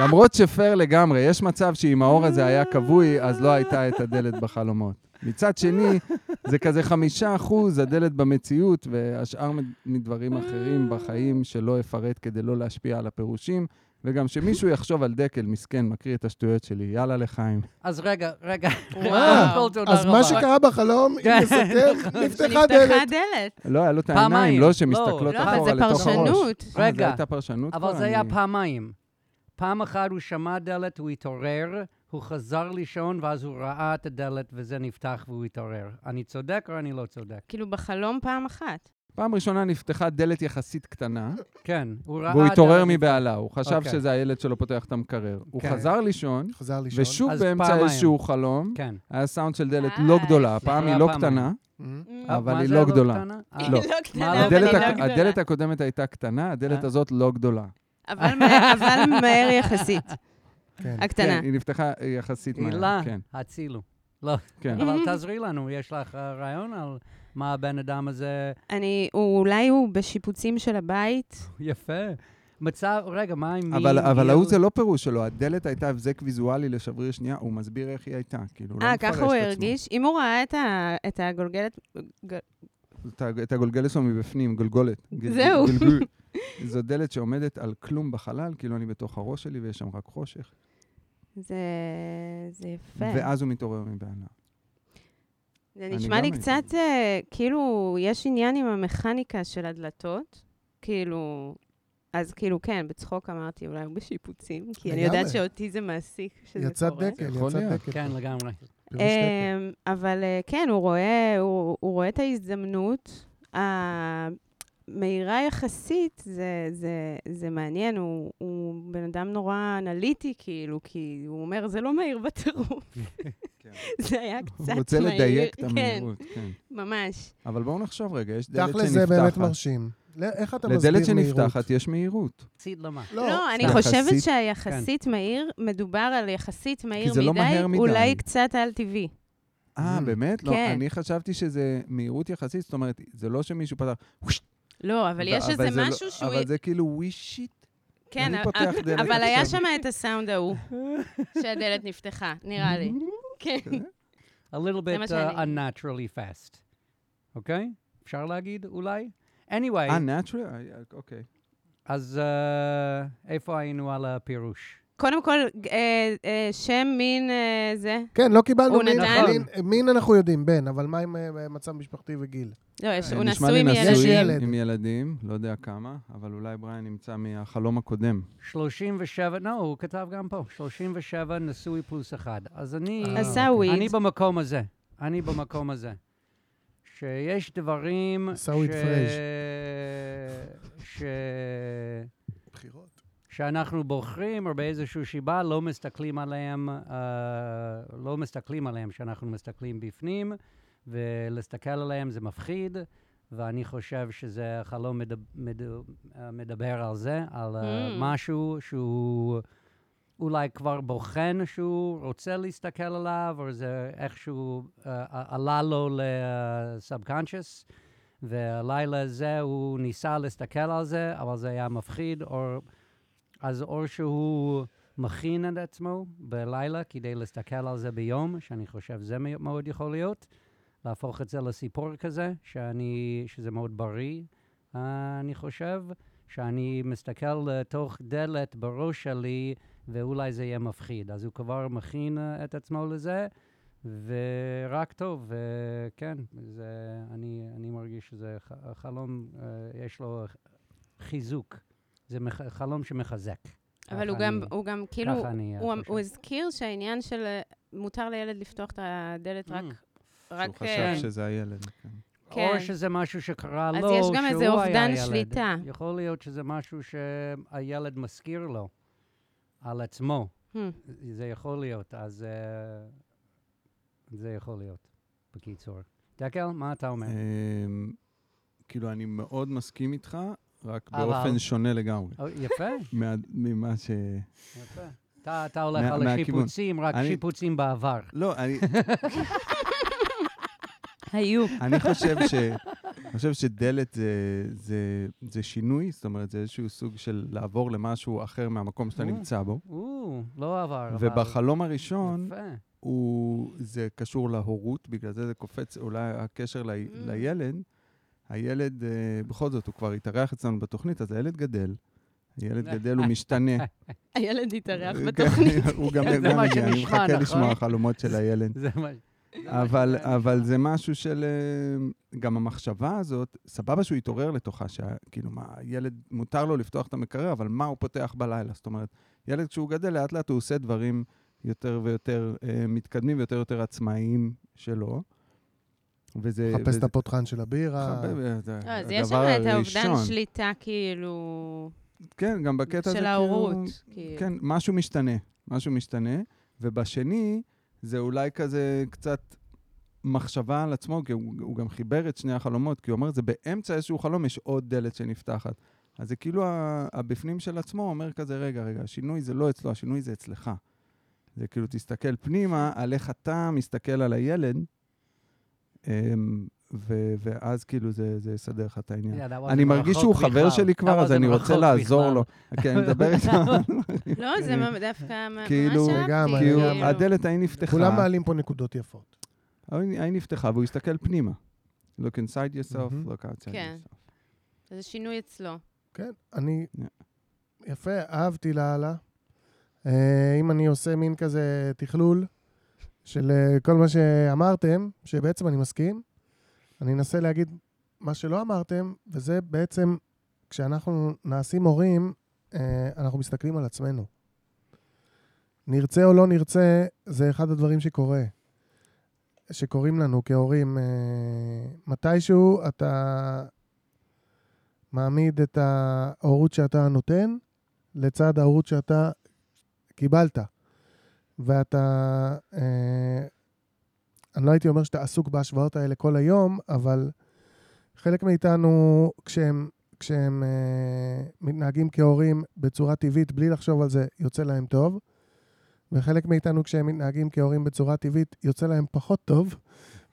B: למרות שפייר לגמרי, יש מצב שאם האור הזה היה כבוי, אז לא הייתה את הדלת בחלומות. מצד שני, זה כזה חמישה אחוז הדלת במציאות, והשאר מד- מדברים אחרים בחיים שלא אפרט כדי לא להשפיע על הפירושים, וגם שמישהו יחשוב על דקל, מסכן, מקריא את השטויות שלי, יאללה לחיים.
E: אז רגע, רגע.
A: אה,
E: קודם כל, תודה
A: אז מה
E: רבה.
A: שקרה בחלום,
F: (laughs)
A: אם
E: כן.
A: נסכם, נפתחה
F: נפתחה
A: דלת.
F: דלת.
B: לא, היה לו את
E: פעמיים.
B: העיניים,
E: לא,
B: לא שמסתכלות
F: לא, אבל
B: אחורה
F: זה
B: לתוך הראש.
F: פרשנות.
B: אה,
E: רגע.
B: זו הייתה פרשנות
E: אבל
B: פה,
E: זה היה
B: אני-
E: פעמיים. פעם אחת הוא שמע דלת, הוא התעורר, הוא חזר לישון, ואז הוא ראה את הדלת, וזה נפתח והוא התעורר. אני צודק או אני לא צודק?
F: כאילו בחלום פעם אחת.
B: פעם ראשונה נפתחה דלת יחסית קטנה,
E: כן, הוא ראה...
B: והוא
E: דלת
B: התעורר
E: נפתח.
B: מבהלה, הוא חשב
E: אוקיי.
B: שזה הילד שלו פותח את המקרר. הוא
E: כן.
B: חזר לישון,
A: חזר לישון.
B: ושוב
E: אז
B: באמצע
E: פעמיים.
B: איזשהו חלום,
E: כן.
B: היה סאונד של דלת
F: אה,
B: לא גדולה,
F: יפה.
B: הפעם היא
E: אה,
B: לא
E: פעמיים.
B: קטנה.
A: מ?
E: אה,
B: אבל
E: מה
B: היא
E: זה,
B: לא גדולה.
E: קטנה? אה,
B: לא.
F: היא לא קטנה,
E: מה,
F: אבל היא
B: הדלת
F: לא
B: הק-
F: גדולה.
B: הדלת הקודמת הייתה קטנה, הדלת
E: אה.
B: הזאת לא גדולה.
F: אבל מה- אבל מהר יחסית.
A: כן.
F: הקטנה.
B: כן, היא נפתחה אה, יחסית מהר.
E: הילה,
B: כן,
E: הצילו. לא,
F: אה,
B: כן.
E: אבל תעזרי לנו, יש לך אה, רעיון על מה הבן אדם הזה
B: כן.
F: אני, הוא- אולי הוא בשיפוצים של הבית.
E: יפה. מצב, רגע, מה עם מי?
B: אבל, אבל
E: גיל?
B: ההוא זה לא פירוש שלו, הדלת הייתה הבזק ויזואלי לשבריר שנייה, הוא מסביר איך היא הייתה, כאילו, הוא לא
F: אה,
B: מפרש את
F: ככה
B: עצמו.
F: הוא הרגיש? אם הוא ראה את ה- את הגולגלת... ג-
B: את ה- את הגולגלת שלו מבפנים, גולגולת. גל-
F: זהו. (laughs)
B: גלגול. זו דלת שעומדת על כלום בחלל, כאילו אני בתוך הראש שלי ויש שם רק חושך.
F: זה זה יפה.
B: ואז הוא מתעורר מבהלה.
F: זה
B: אני
F: נשמע
B: גם
F: לי
B: הייתי.
F: קצת, אה, כאילו, יש עניין עם המכניקה של הדלתות. כאילו, אז כאילו, כן, בצחוק אמרתי, אולי הוא בשיפוצים, כי אני יודעת
A: לגמרי.
F: שאותי זה מעסיק שזה קורה.
A: יצא דקל,
B: יכול
A: יצא
B: להיות.
A: דקל.
E: כן, לגמרי.
A: פירוש דקל.
F: אמ, אבל אה, כן, הוא רואה, הוא, הוא רואה את ההזדמנות. המהירה יחסית, זה, זה, זה מעניין, הוא, הוא בן אדם נורא אנליטי, כאילו, כי הוא אומר, זה לא מהיר בטירוף.
B: (laughs) כן.
F: (laughs) זה היה קצת
B: הוא
F: מהיר.
B: רוצה לדייק את
F: כן,
B: המהירות, כן.
F: ממש.
B: אבל בואו נחשוב רגע, יש דלת
A: תכל'ס זה באמת
B: שנפתחת.
A: מרשים. לא, איך אתה מסביר
B: לדלת
A: מהירות?
B: שנפתחת יש מהירות.
E: ציד למה?
F: לא, אני
B: סתם.
F: חושבת
B: יחסית- כן.
F: שהיחסית מהיר, מדובר על יחסית מהיר
B: זה לא
F: מדי,
B: מהר מדי.
F: אולי קצת על-טבעי.
A: Mm.
B: אה, באמת? לא,
F: כן.
B: אני חשבתי שזה מהירות יחסית, זאת אומרת, זה לא שמישהו פתח...
F: לא, אבל יש
B: זה
F: איזה
B: לא-
F: משהו שהוא...
B: אבל זה כאילו ווישיט.
F: כן,
B: אני
F: א-
B: פותח
F: א-
B: דלת
F: אבל היה
B: עכשיו.
F: שם את
B: (laughs)
F: הסאונד ההוא, שהדלת נפתחה, נראה לי.
B: אה,
F: כן.
E: a little
F: זה מה
E: bit uh,
F: שאני-
E: unnaturally fast. אוקיי? אפשר להגיד אולי? anyway,
B: אה, נטרל? אוקיי.
E: אז אה, איפה היינו על הפירוש?
F: קודם כל, אה, אה, שם, מין, אה, זה.
A: כן, לא קיבלנו
F: הוא
A: מין,
F: נתן-
A: מין- מין אנחנו יודעים, בן, אבל מה עם אה, מצב משפחתי וגיל?
F: לא, יש-
E: אה,
F: הוא
B: נשמע
F: נשוי
B: לי נשוי
F: מילדים.
A: ילד.
B: עם ילדים, לא יודע כמה, אבל אולי בריין נמצא מהחלום הקודם.
E: 37, לא, הוא כתב גם פה, 37 נשוי פלוס אחד. אז אני...
A: אה,
B: אוקיי.
F: עיסאווי,
E: אני במקום הזה, אני במקום הזה. שיש דברים ש...
A: עיסאווי פריג'.
E: ש... שאנחנו בוחרים, או באיזושהי סיבה לא מסתכלים עליהם, אה, לא מסתכלים עליהם שאנחנו מסתכלים בפנים, ולהסתכל עליהם זה מפחיד, ואני חושב שזה החלום מדבר, מדבר על זה, על אה,
F: Mm.
E: משהו שהוא אולי כבר בוחן שהוא רוצה להסתכל עליו, או זה איכשהו אה, עלה לו ל-subconscious. והלילה הזה הוא ניסה להסתכל על זה, אבל זה היה מפחיד, או... אז או שהוא מכין את עצמו בלילה כדי להסתכל על זה ביום, שאני חושב זה מ- מאוד יכול להיות, להפוך את זה לסיפור כזה, שאני, שזה מאוד בריא, אה, אני חושב, שאני מסתכל לתוך דלת בראש שלי, ואולי זה יהיה מפחיד. אז הוא כבר מכין אה, את עצמו לזה, ורק טוב, וכן, זה, אני, אני מרגיש שזה ח- החלום, אה, יש לו חיזוק. זה מח, חלום שמחזק.
F: אבל הוא
E: ככה
F: גם,
E: אני-
F: הוא גם, כאילו,
E: ככה אני אה,
F: הוא
E: חושב.
F: הוא הזכיר שהעניין של אה, מותר לילד לפתוח את הדלת רק...
E: Mm.
B: שהוא
F: רק... אה,
B: חשב שזה הילד. כן.
E: או
F: כן.
E: שזה משהו שקרה
F: אז
E: לו,
F: יש גם איזה
E: שהוא היה
F: אובדן
E: ילד.
F: שליטה.
E: יכול להיות שזה משהו שהילד מזכיר לו על עצמו.
F: Hmm.
E: זה יכול להיות, אז אה, זה יכול להיות, בקיצור. דקל, מה אתה אומר?
B: אמ, כאילו, אני מאוד מסכים איתך, רק
E: אבל-
B: באופן שונה לגמרי.
E: או, אה, יפה,
F: אוקיי.
B: מה- ממה ש...
E: יפה. אתה, אתה הולך
B: מה-
E: על
B: מהכיוון.
E: השיפוצים, רק
B: אני-
E: שיפוצים בעבר.
B: לא, אני-
F: היו.
B: אני חושב ש... אני חושב שדלת זה, זה, זה שינוי, זאת אומרת, זה איזשהו סוג של לעבור למשהו אחר מהמקום שאתה
E: או.
B: נמצא בו.
E: או, לא עבר, אבל...
B: ובחלום הראשון,
E: יפה.
B: הוא, זה קשור להורות, בגלל זה זה קופץ, אולי הקשר ל,
E: Mm.
B: לילד. הילד, אה, בכל זאת, הוא כבר התארח אצלנו בתוכנית, אז הילד גדל. הילד
E: (laughs)
B: גדל, הוא משתנה.
F: הילד התארח
B: (laughs) כן,
F: בתוכנית.
B: הוא גם
E: (laughs) זה
B: גם
E: מה
B: מגיע, אני
E: שנשמע,
B: מחכה
E: נכון?
B: לשמוע חלומות של הילד.
E: זה מה...
B: אבל,
F: כן.
B: אבל זה משהו של... אה, גם המחשבה הזאת, סבבה שהוא התעורר לתוכה, שכאילו, מה, ילד, מותר לו לפתוח את המקרר, אבל מה הוא פותח בלילה? זאת אומרת, ילד כשהוא גדל, לאט לאט הוא עושה דברים יותר ויותר אה, מתקדמים ויותר ויותר עצמאיים שלו. וזה...
A: חפש את
B: וזה-
A: הפותחן של הבירה.
B: חפש- זה
F: (laughs) לא, אז יש שם
B: הדבר
F: את האובדן
B: הראשון.
F: שליטה, כאילו,
B: כן, גם בקטע הזה,
F: של ההורות. כאילו.
B: כן, משהו משתנה, משהו משתנה. ובשני, זה אולי כזה קצת מחשבה על עצמו, כי הוא, הוא גם חיבר את שני החלומות, כי הוא אומר, זה באמצע איזשהו חלום, יש עוד דלת שנפתחת. אז זה כאילו ה- הבפנים של עצמו אומר כזה, רגע, רגע, השינוי זה לא אצלו, השינוי זה אצלך. זה כאילו, תסתכל פנימה על איך אתה מסתכל על הילד, אמ, ו- ואז כאילו זה, זה יסדר לך את העניין.
E: Yeah, that wasn't
B: אני מרגיש
E: רחוק
B: שהוא חבר
E: בכלל.
B: שלי כבר,
E: that
B: אז אני
E: wasn't
B: רוצה
E: רחוק
B: לעזור
E: בכלל.
B: לו. כן, אני מדבר איתו.
F: לא, זה ממ- דווקא ממש
B: כאילו,
F: אהבתי.
A: לגמרי,
B: כאילו,
A: לגמרי.
B: הדלת ההיא נפתחה.
A: כולם מעלים פה נקודות יפות.
B: ההיא ההיא נפתחה והוא הסתכל פנימה. Look inside yourself,
A: Mhm.
B: look outside
F: כן.
B: yourself.
F: זה שינוי אצלו.
A: כן, אני...
B: Yeah.
A: יפה, אהבתי לאללה. אה, אם אני עושה מין כזה תכלול של אה, כל מה שאמרתם, שבעצם אני מסכים, אני אנסה להגיד מה שלא אמרתם, וזה בעצם, כשאנחנו נעשים הורים, אה, אנחנו מסתכלים על עצמנו. נרצה או לא נרצה, זה אחד הדברים שקורה, שקורים לנו כהורים. אה, מתישהו אתה מעמיד את ההורות שאתה נותן לצד ההורות שאתה קיבלת. ואתה, אה, אני לא הייתי אומר שאתה עסוק בהשוואות האלה כל היום, אבל חלק מאיתנו, כשהם, כשהם אה, מתנהגים כהורים בצורה טבעית, בלי לחשוב על זה, יוצא להם טוב. וחלק מאיתנו, כשהם מתנהגים כהורים בצורה טבעית, יוצא להם פחות טוב,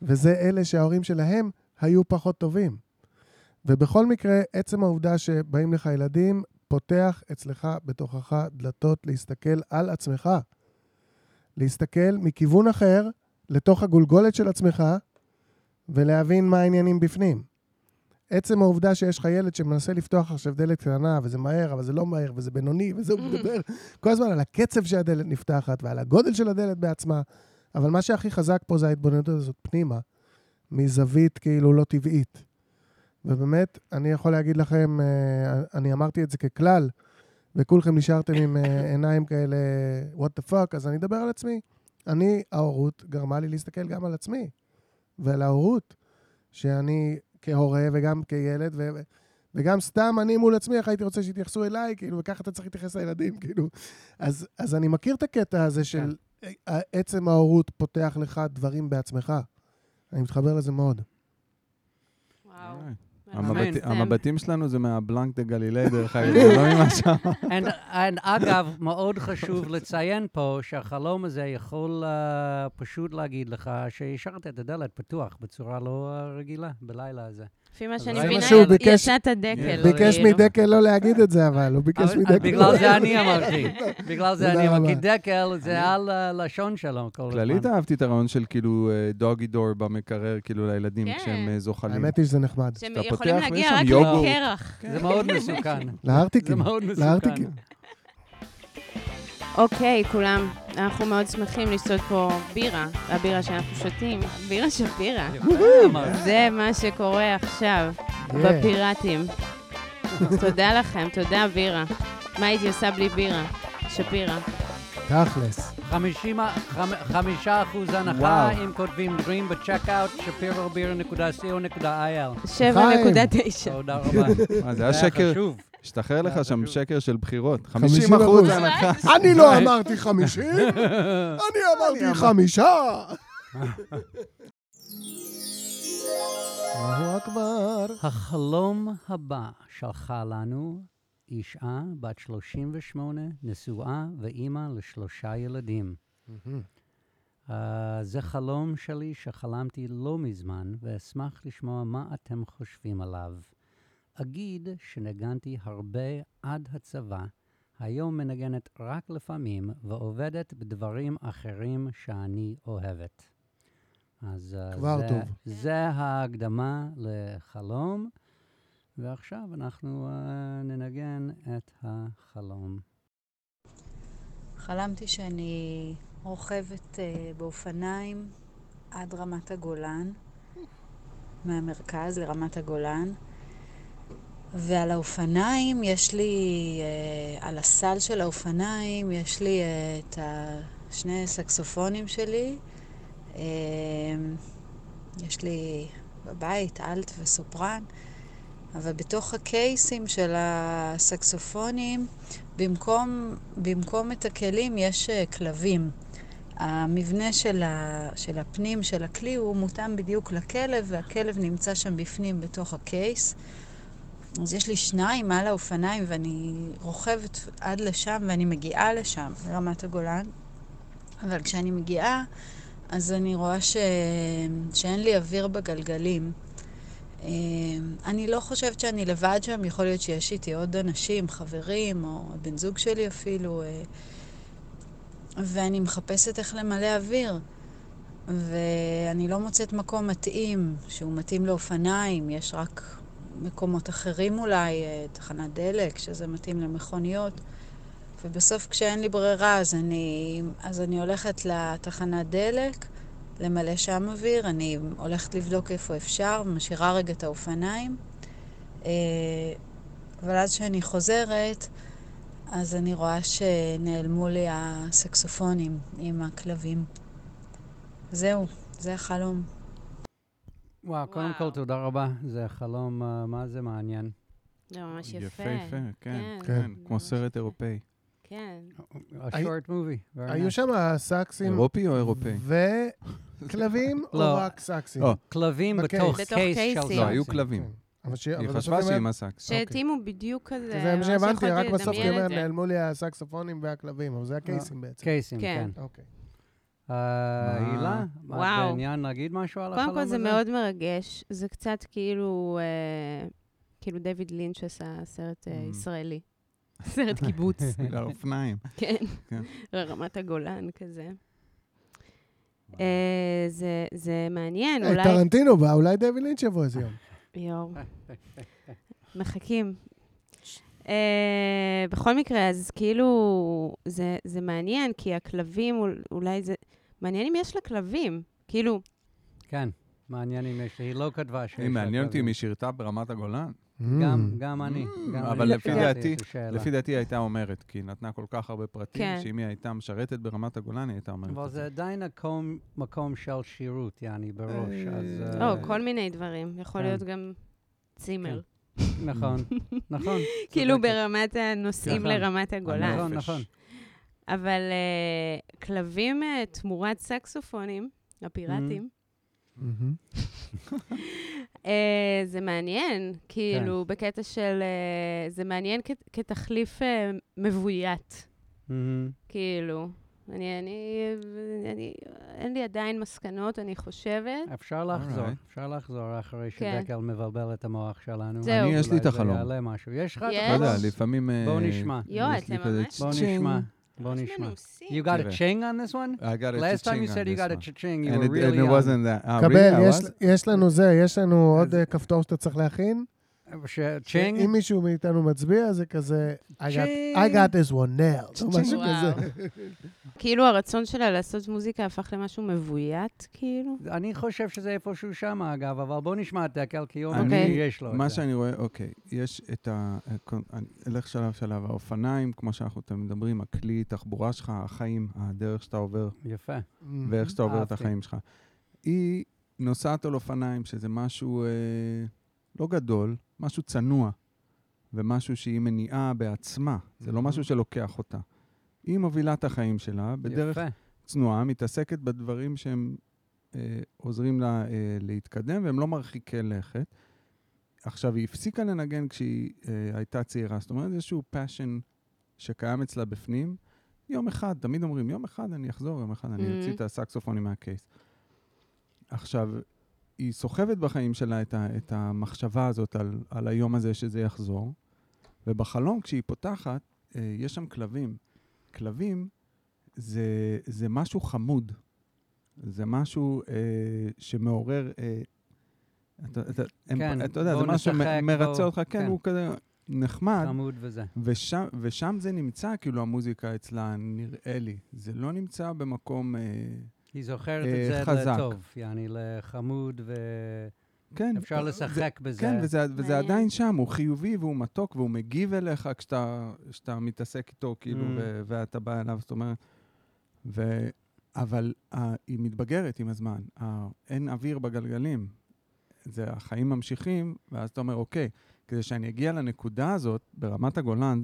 A: וזה אלה שההורים שלהם היו פחות טובים. ובכל מקרה, עצם העובדה שבאים לך ילדים, פותח אצלך, בתוכך, דלתות להסתכל על עצמך. להסתכל מכיוון אחר, לתוך הגולגולת של עצמך, ולהבין מה העניינים בפנים. עצם העובדה שיש לך ילד שמנסה לפתוח עכשיו דלת קטנה, וזה מהר, אבל זה לא מהר, וזה בינוני, וזה הוא מדבר כל הזמן על הקצב שהדלת נפתחת, ועל הגודל של הדלת בעצמה. אבל מה שהכי חזק פה זה ההתבוננות הזאת פנימה, מזווית כאילו לא טבעית. ובאמת, אני יכול להגיד לכם, אה, אני אמרתי את זה ככלל, וכולכם נשארתם עם אה, עיניים כאלה, what the fuck, אז אני אדבר על עצמי. אני, ההורות גרמה לי להסתכל גם על עצמי, ועל ההורות, שאני כהורה וגם כילד, ו... וגם סתם אני מול עצמי, איך הייתי רוצה שיתייחסו אליי, כאילו, וככה אתה צריך להתייחס לילדים, (laughs) כאילו. אז, אז אני מכיר את הקטע הזה של אה, עצם ההורות פותח לך דברים בעצמך. אני מתחבר לזה מאוד.
F: וואו.
A: אה,
B: אוקיי.
F: כן.
B: המבט-
E: אמן.
B: המבטים שלנו זה מהבלנק דה גלילי, דרך אגב, זה לא ממה
F: (laughs)
B: שם.
E: And, and אגב, מאוד חשוב לציין פה שהחלום הזה יכול uh, פשוט להגיד לך שהשארת את הדלת פתוח בצורה לא אה, רגילה בלילה הזה.
F: לפי מה
E: אז
F: שאני
E: זה מה
F: מבינה,
E: שהוא
A: ביקש-
F: יצאת דקל.
A: ביקש
F: כאילו.
A: מדקל לא להגיד את זה, אבל הוא ביקש
E: אבל- אה,
A: מדקל.
E: בגלל זה אני אמרתי, בגלל זה
A: תודה
E: אני אמרתי,
A: רבה.
E: דקל זה על הלשון שלו כל הזמן.
B: כללית אהבתי את הרעיון של כאילו דוגי דור במקרר, כאילו לילדים
F: כן.
B: כשהם אה, זוחלים.
A: האמת היא שזה נחמד.
F: שהם
B: כשאתה
F: יכולים
B: פותח
F: להגיע
B: ויש שם
F: רק
B: יוגורט.
F: לקרח.
E: זה מאוד מסוכן. זה
A: לארטיקים.
E: מאוד מסוכן.
A: לארטיקים.
F: אוקיי, כולם, אנחנו מאוד שמחים לשתות פה בירה, הבירה שאנחנו שותים, בירה שפירא.
E: אמרתי.
F: זה מה שקורה עכשיו, בפיראטים. תודה לכם, תודה בירה. מה הייתי עושה בלי בירה? שפירא.
A: תכלס.
E: 50 חמ- חמישה אחוז הנחה
B: וואו.
E: אם כותבים Dream בצ'קאוט,
A: (laughs)
E: שפירוביר.co.il.
F: 7.9.
E: תודה רבה.
B: אה, זה היה שקר,
E: חשוב.
B: השתחרר לך שם שקר של בחירות. 50
A: 50%
B: אחוז הנחה.
A: אני (laughs) לא אמרתי חמישים, אני אמרתי (laughs) חמישה. אללהו אכבר.
E: החלום הבא שלחה לנו אישה בת 38, נשואה ואימא לשלושה ילדים. Uh, זה חלום שלי שחלמתי לא מזמן, ואשמח לשמוע מה אתם חושבים עליו. אגיד שנגנתי הרבה עד הצבא, היום מנגנת רק לפעמים, ועובדת בדברים אחרים שאני אוהבת. אז אה,
A: כבר
E: זה,
A: טוב.
E: זה ההקדמה לחלום, ועכשיו אנחנו uh, ננגן את החלום.
I: חלמתי שאני רוכבת אה, באופניים עד רמת הגולן, מהמרכז לרמת הגולן, ועל האופניים יש לי, אה, על הסל של האופניים יש לי אה, את השני סקסופונים שלי. אה, יש לי בבית אלט וסופרן, אבל בתוך הקייסים של הסקסופונים במקום, במקום את הכלים יש אה, כלבים. המבנה של, ה, של הפנים של הכלי הוא מותאם בדיוק לכלב, והכלב נמצא שם בפנים בתוך הקייס. אז יש לי שניים על האופניים, ואני רוכבת עד לשם, ואני מגיעה לשם, רמת הגולן. אבל כשאני מגיעה, אז אני רואה ש... שאין לי אוויר בגלגלים. אה, אני לא חושבת שאני לבד שם, יכול להיות שיש איתי עוד אנשים, חברים, או הבן זוג שלי אפילו, אה, ואני מחפשת איך למלא אוויר. ואני לא מוצאת מקום מתאים, שהוא מתאים לאופניים, יש רק מקומות אחרים אולי, אה, תחנת דלק, שזה מתאים למכוניות. ובסוף כשאין לי ברירה, אז אני, אז אני הולכת לתחנת דלק, למלא שם אוויר, אני הולכת לבדוק איפה אפשר, משאירה רגע את האופניים. אה, אבל אז כשאני חוזרת, אז אני רואה שנעלמו לי הסקסופונים עם הכלבים. זהו, זה החלום.
E: וואו, קודם כל
F: וואו.
E: תודה רבה, זה חלום, אה, מה זה מעניין.
F: זה לא, ממש יפה.
B: יפה, יפה, כן,
F: כן,
B: כן, כמו
F: ממש
B: סרט
F: יפה.
B: אירופאי.
F: כן.
A: אוקיי.
E: A short movie. very
A: היו
E: nice.
A: שם סקסים
B: אירופי או אירופאי?
A: וכלבים, או
E: לא.
A: רק סקסים?
B: לא.
E: כלבים
A: בקייס.
E: בתוך
F: בתוך
E: קייס של
F: קייסים. לא,
B: לא, היו
E: סקסים.
A: כן.
B: כלבים.
A: אבל ש-
B: היא
A: אבל
B: חשבה
A: בסוף
B: שהיא
A: היא אומרת-
B: עם הסקס.
F: שהתאימו בדיוק כזה,
A: זה מה
F: ממש
A: שהבנתי,
F: יכולתי
A: רק בסוף היא
F: לדמיין את
A: אומרת,
F: זה.
A: נעלמו לי הסקסופונים והכלבים, אבל זה הקייסים בעצם.
E: קייסים, כן.
F: כן.
A: אוקיי.
E: אה,
B: מה?
E: הילה, את
F: וואו.
E: בעניין להגיד משהו על החלום
F: קודם
E: הזה?
F: כל זה מאוד מרגש, זה קצת כאילו, אה, כאילו דיוויד לינץ' עשה סרט אה,
B: Mm. (laughs)
F: ישראלי. סרט קיבוץ,
A: (laughs)
B: על האופניים.
F: כן,
B: כן.
F: רמת הגולן כזה. אה, זה- זה מעניין,
B: אה,
A: היי,
F: אולי...
A: אה, טרנטינו בא, אולי דויד לינץ' יבוא איזה יום.
B: (laughs)
F: יואו. מחכים. אה, בכל מקרה, אז כאילו, זה, זה מעניין, כי הכלבים, אול- אולי זה... מעניין אם יש לה כלבים. כאילו,
E: כן, מעניין אם יש לי, היא לא כתבה שיש לה
B: היא מעניין אותי
A: כן.
B: אם
E: כלבים.
B: היא שירתה ברמת הגולן.
E: (laughs)
A: Hmm.
E: גם,
A: Mm.
E: גם אני. גם
B: אבל
E: אני
B: לפי
E: שאלתי
B: דעתי-
E: את השאלה.
B: לפי דעתי היא הייתה אומרת, כי היא נתנה כל כך הרבה פרטים,
F: כן.
B: שאם היא הייתה משרתת ברמת הגולן, היא הייתה אומרת.
E: אבל
B: את
E: זה
B: זה.
E: עדיין מקום, מקום של שירות, יעני, בראש,
B: אה,
E: אז...
B: אה,
F: או,
E: אה,
F: כל מיני דברים. יכול
E: כן.
F: להיות גם צימר.
E: נכון, נכון.
F: (laughs) כאילו,
E: צודקת.
F: ברמת הנוסעים
E: נכון.
F: לרמת הגולן.
E: נכון,
B: הנפש.
E: נכון.
F: אבל אה, כלבים אה, תמורת סקסופונים, הפיראטים,
E: Mm.
F: (laughs) אה, זה מעניין, כאילו,
E: כן.
F: בקטע של... אה, זה מעניין כ- כתחליף אה, מבוית,
E: מהמם.
F: כאילו. אני, אני, אני, אין לי עדיין מסקנות, אני חושבת.
E: אפשר לחזור,
B: Alright.
E: אפשר לחזור אחרי
F: כן.
E: שדקל מבלבל את המוח שלנו.
F: זהו.
B: אני, יש לי
E: אולי
B: את החלום.
E: זה יעלה משהו. יש לך את
F: יש?
B: לא יודע,
E: החלום?
B: לפעמים... אה,
E: בואו נשמע.
F: יואו,
B: יש לי
F: אתם
B: כזה
F: ממש-
E: בואו
B: צ'ינג.
E: נשמע, בואו נשמע. You got a
B: תראה.
E: ching on this one?
B: I got a
E: Last time
B: cha-ching
E: you said
B: on
E: you
B: this
E: got a
B: one.
E: cha-ching, you
B: And
E: were
B: it-
E: really
B: and it
E: on.
B: wasn't that.
E: אה,
B: Ah,
A: קבל,
B: really? I
A: יש-
B: was?
A: יש לנו זה, יש לנו עוד אה, כפתור שאתה צריך להכין.
E: ש- צ'ינג?
A: אם מישהו מאיתנו מצביע, זה כזה, I got-
E: צ'ינג.
A: I got this one nailed, או
F: (laughs)
A: משהו
F: וואו.
A: כזה.
B: Ah,
F: כאילו הרצון שלה לעשות מוזיקה הפך למשהו מבוית, כאילו.
E: אני חושב שזה איפשהו שם, אגב, אבל בואו נשמע את דקל, כי הוא אומר
B: אני-
E: שיש (laughs) לו את זה.
B: מה שאני רואה, אוקיי, יש את ה... אני אלך שלב שלב, האופניים, כמו שאנחנו תמיד מדברים, הכלי, תחבורה שלך, החיים, הדרך שאתה עובר,
E: יפה.
A: Mm.
B: ואיך שאתה עובר את
E: אהבתי.
B: החיים שלך. היא נוסעת על אופניים, שזה משהו אה, לא גדול, משהו צנוע, ומשהו שהיא מניעה בעצמה, זה לא
A: Mhm.
B: משהו שלוקח אותה. היא מובילה את החיים שלה בדרך
E: יפה.
B: צנועה, מתעסקת בדברים שהם אה, עוזרים לה אה, להתקדם, והם לא מרחיקי לכת. עכשיו, היא הפסיקה לנגן כשהיא אה, הייתה צעירה, זאת אומרת, איזשהו passion שקיים אצלה בפנים. יום אחד, תמיד אומרים, יום אחד אני אחזור, יום אחד אני אוציא
F: Mhm.
B: את הסקסופונים מהקייס. עכשיו, היא סוחבת בחיים שלה את, ה, את המחשבה הזאת על, על היום הזה שזה יחזור, ובחלום, כשהיא פותחת, אה, יש שם כלבים. כלבים זה, זה משהו חמוד. זה משהו אה, שמעורר... אה, אתה, אתה,
E: כן,
B: כן, אתה יודע, זה
E: בואו
B: משהו
E: נשחק,
B: מ- מרצה
E: בואו-
B: אותך, כן,
E: כן.
B: הוא כזה נחמד,
E: חמוד וזה.
B: ושם, ושם זה נמצא, כאילו, המוזיקה אצלה, נראה לי. זה לא נמצא במקום... אה,
E: היא זוכרת
B: אה,
E: את זה
B: חזק.
E: לטוב, יעני לחמוד, ואפשר
B: כן. זה-
E: לשחק בזה.
B: כן, וזה, וזה
F: מעניין.
B: עדיין שם, הוא חיובי והוא מתוק והוא מגיב אליך כשאתה, כשאתה מתעסק איתו, כאילו,
E: Mm.
B: ו- ואתה בא אליו, זאת אומרת... ו... אבל uh, היא מתבגרת עם הזמן, uh, אין אוויר בגלגלים. זה, החיים ממשיכים, ואז אתה אומר, אוקיי, כדי שאני אגיע לנקודה הזאת ברמת הגולן,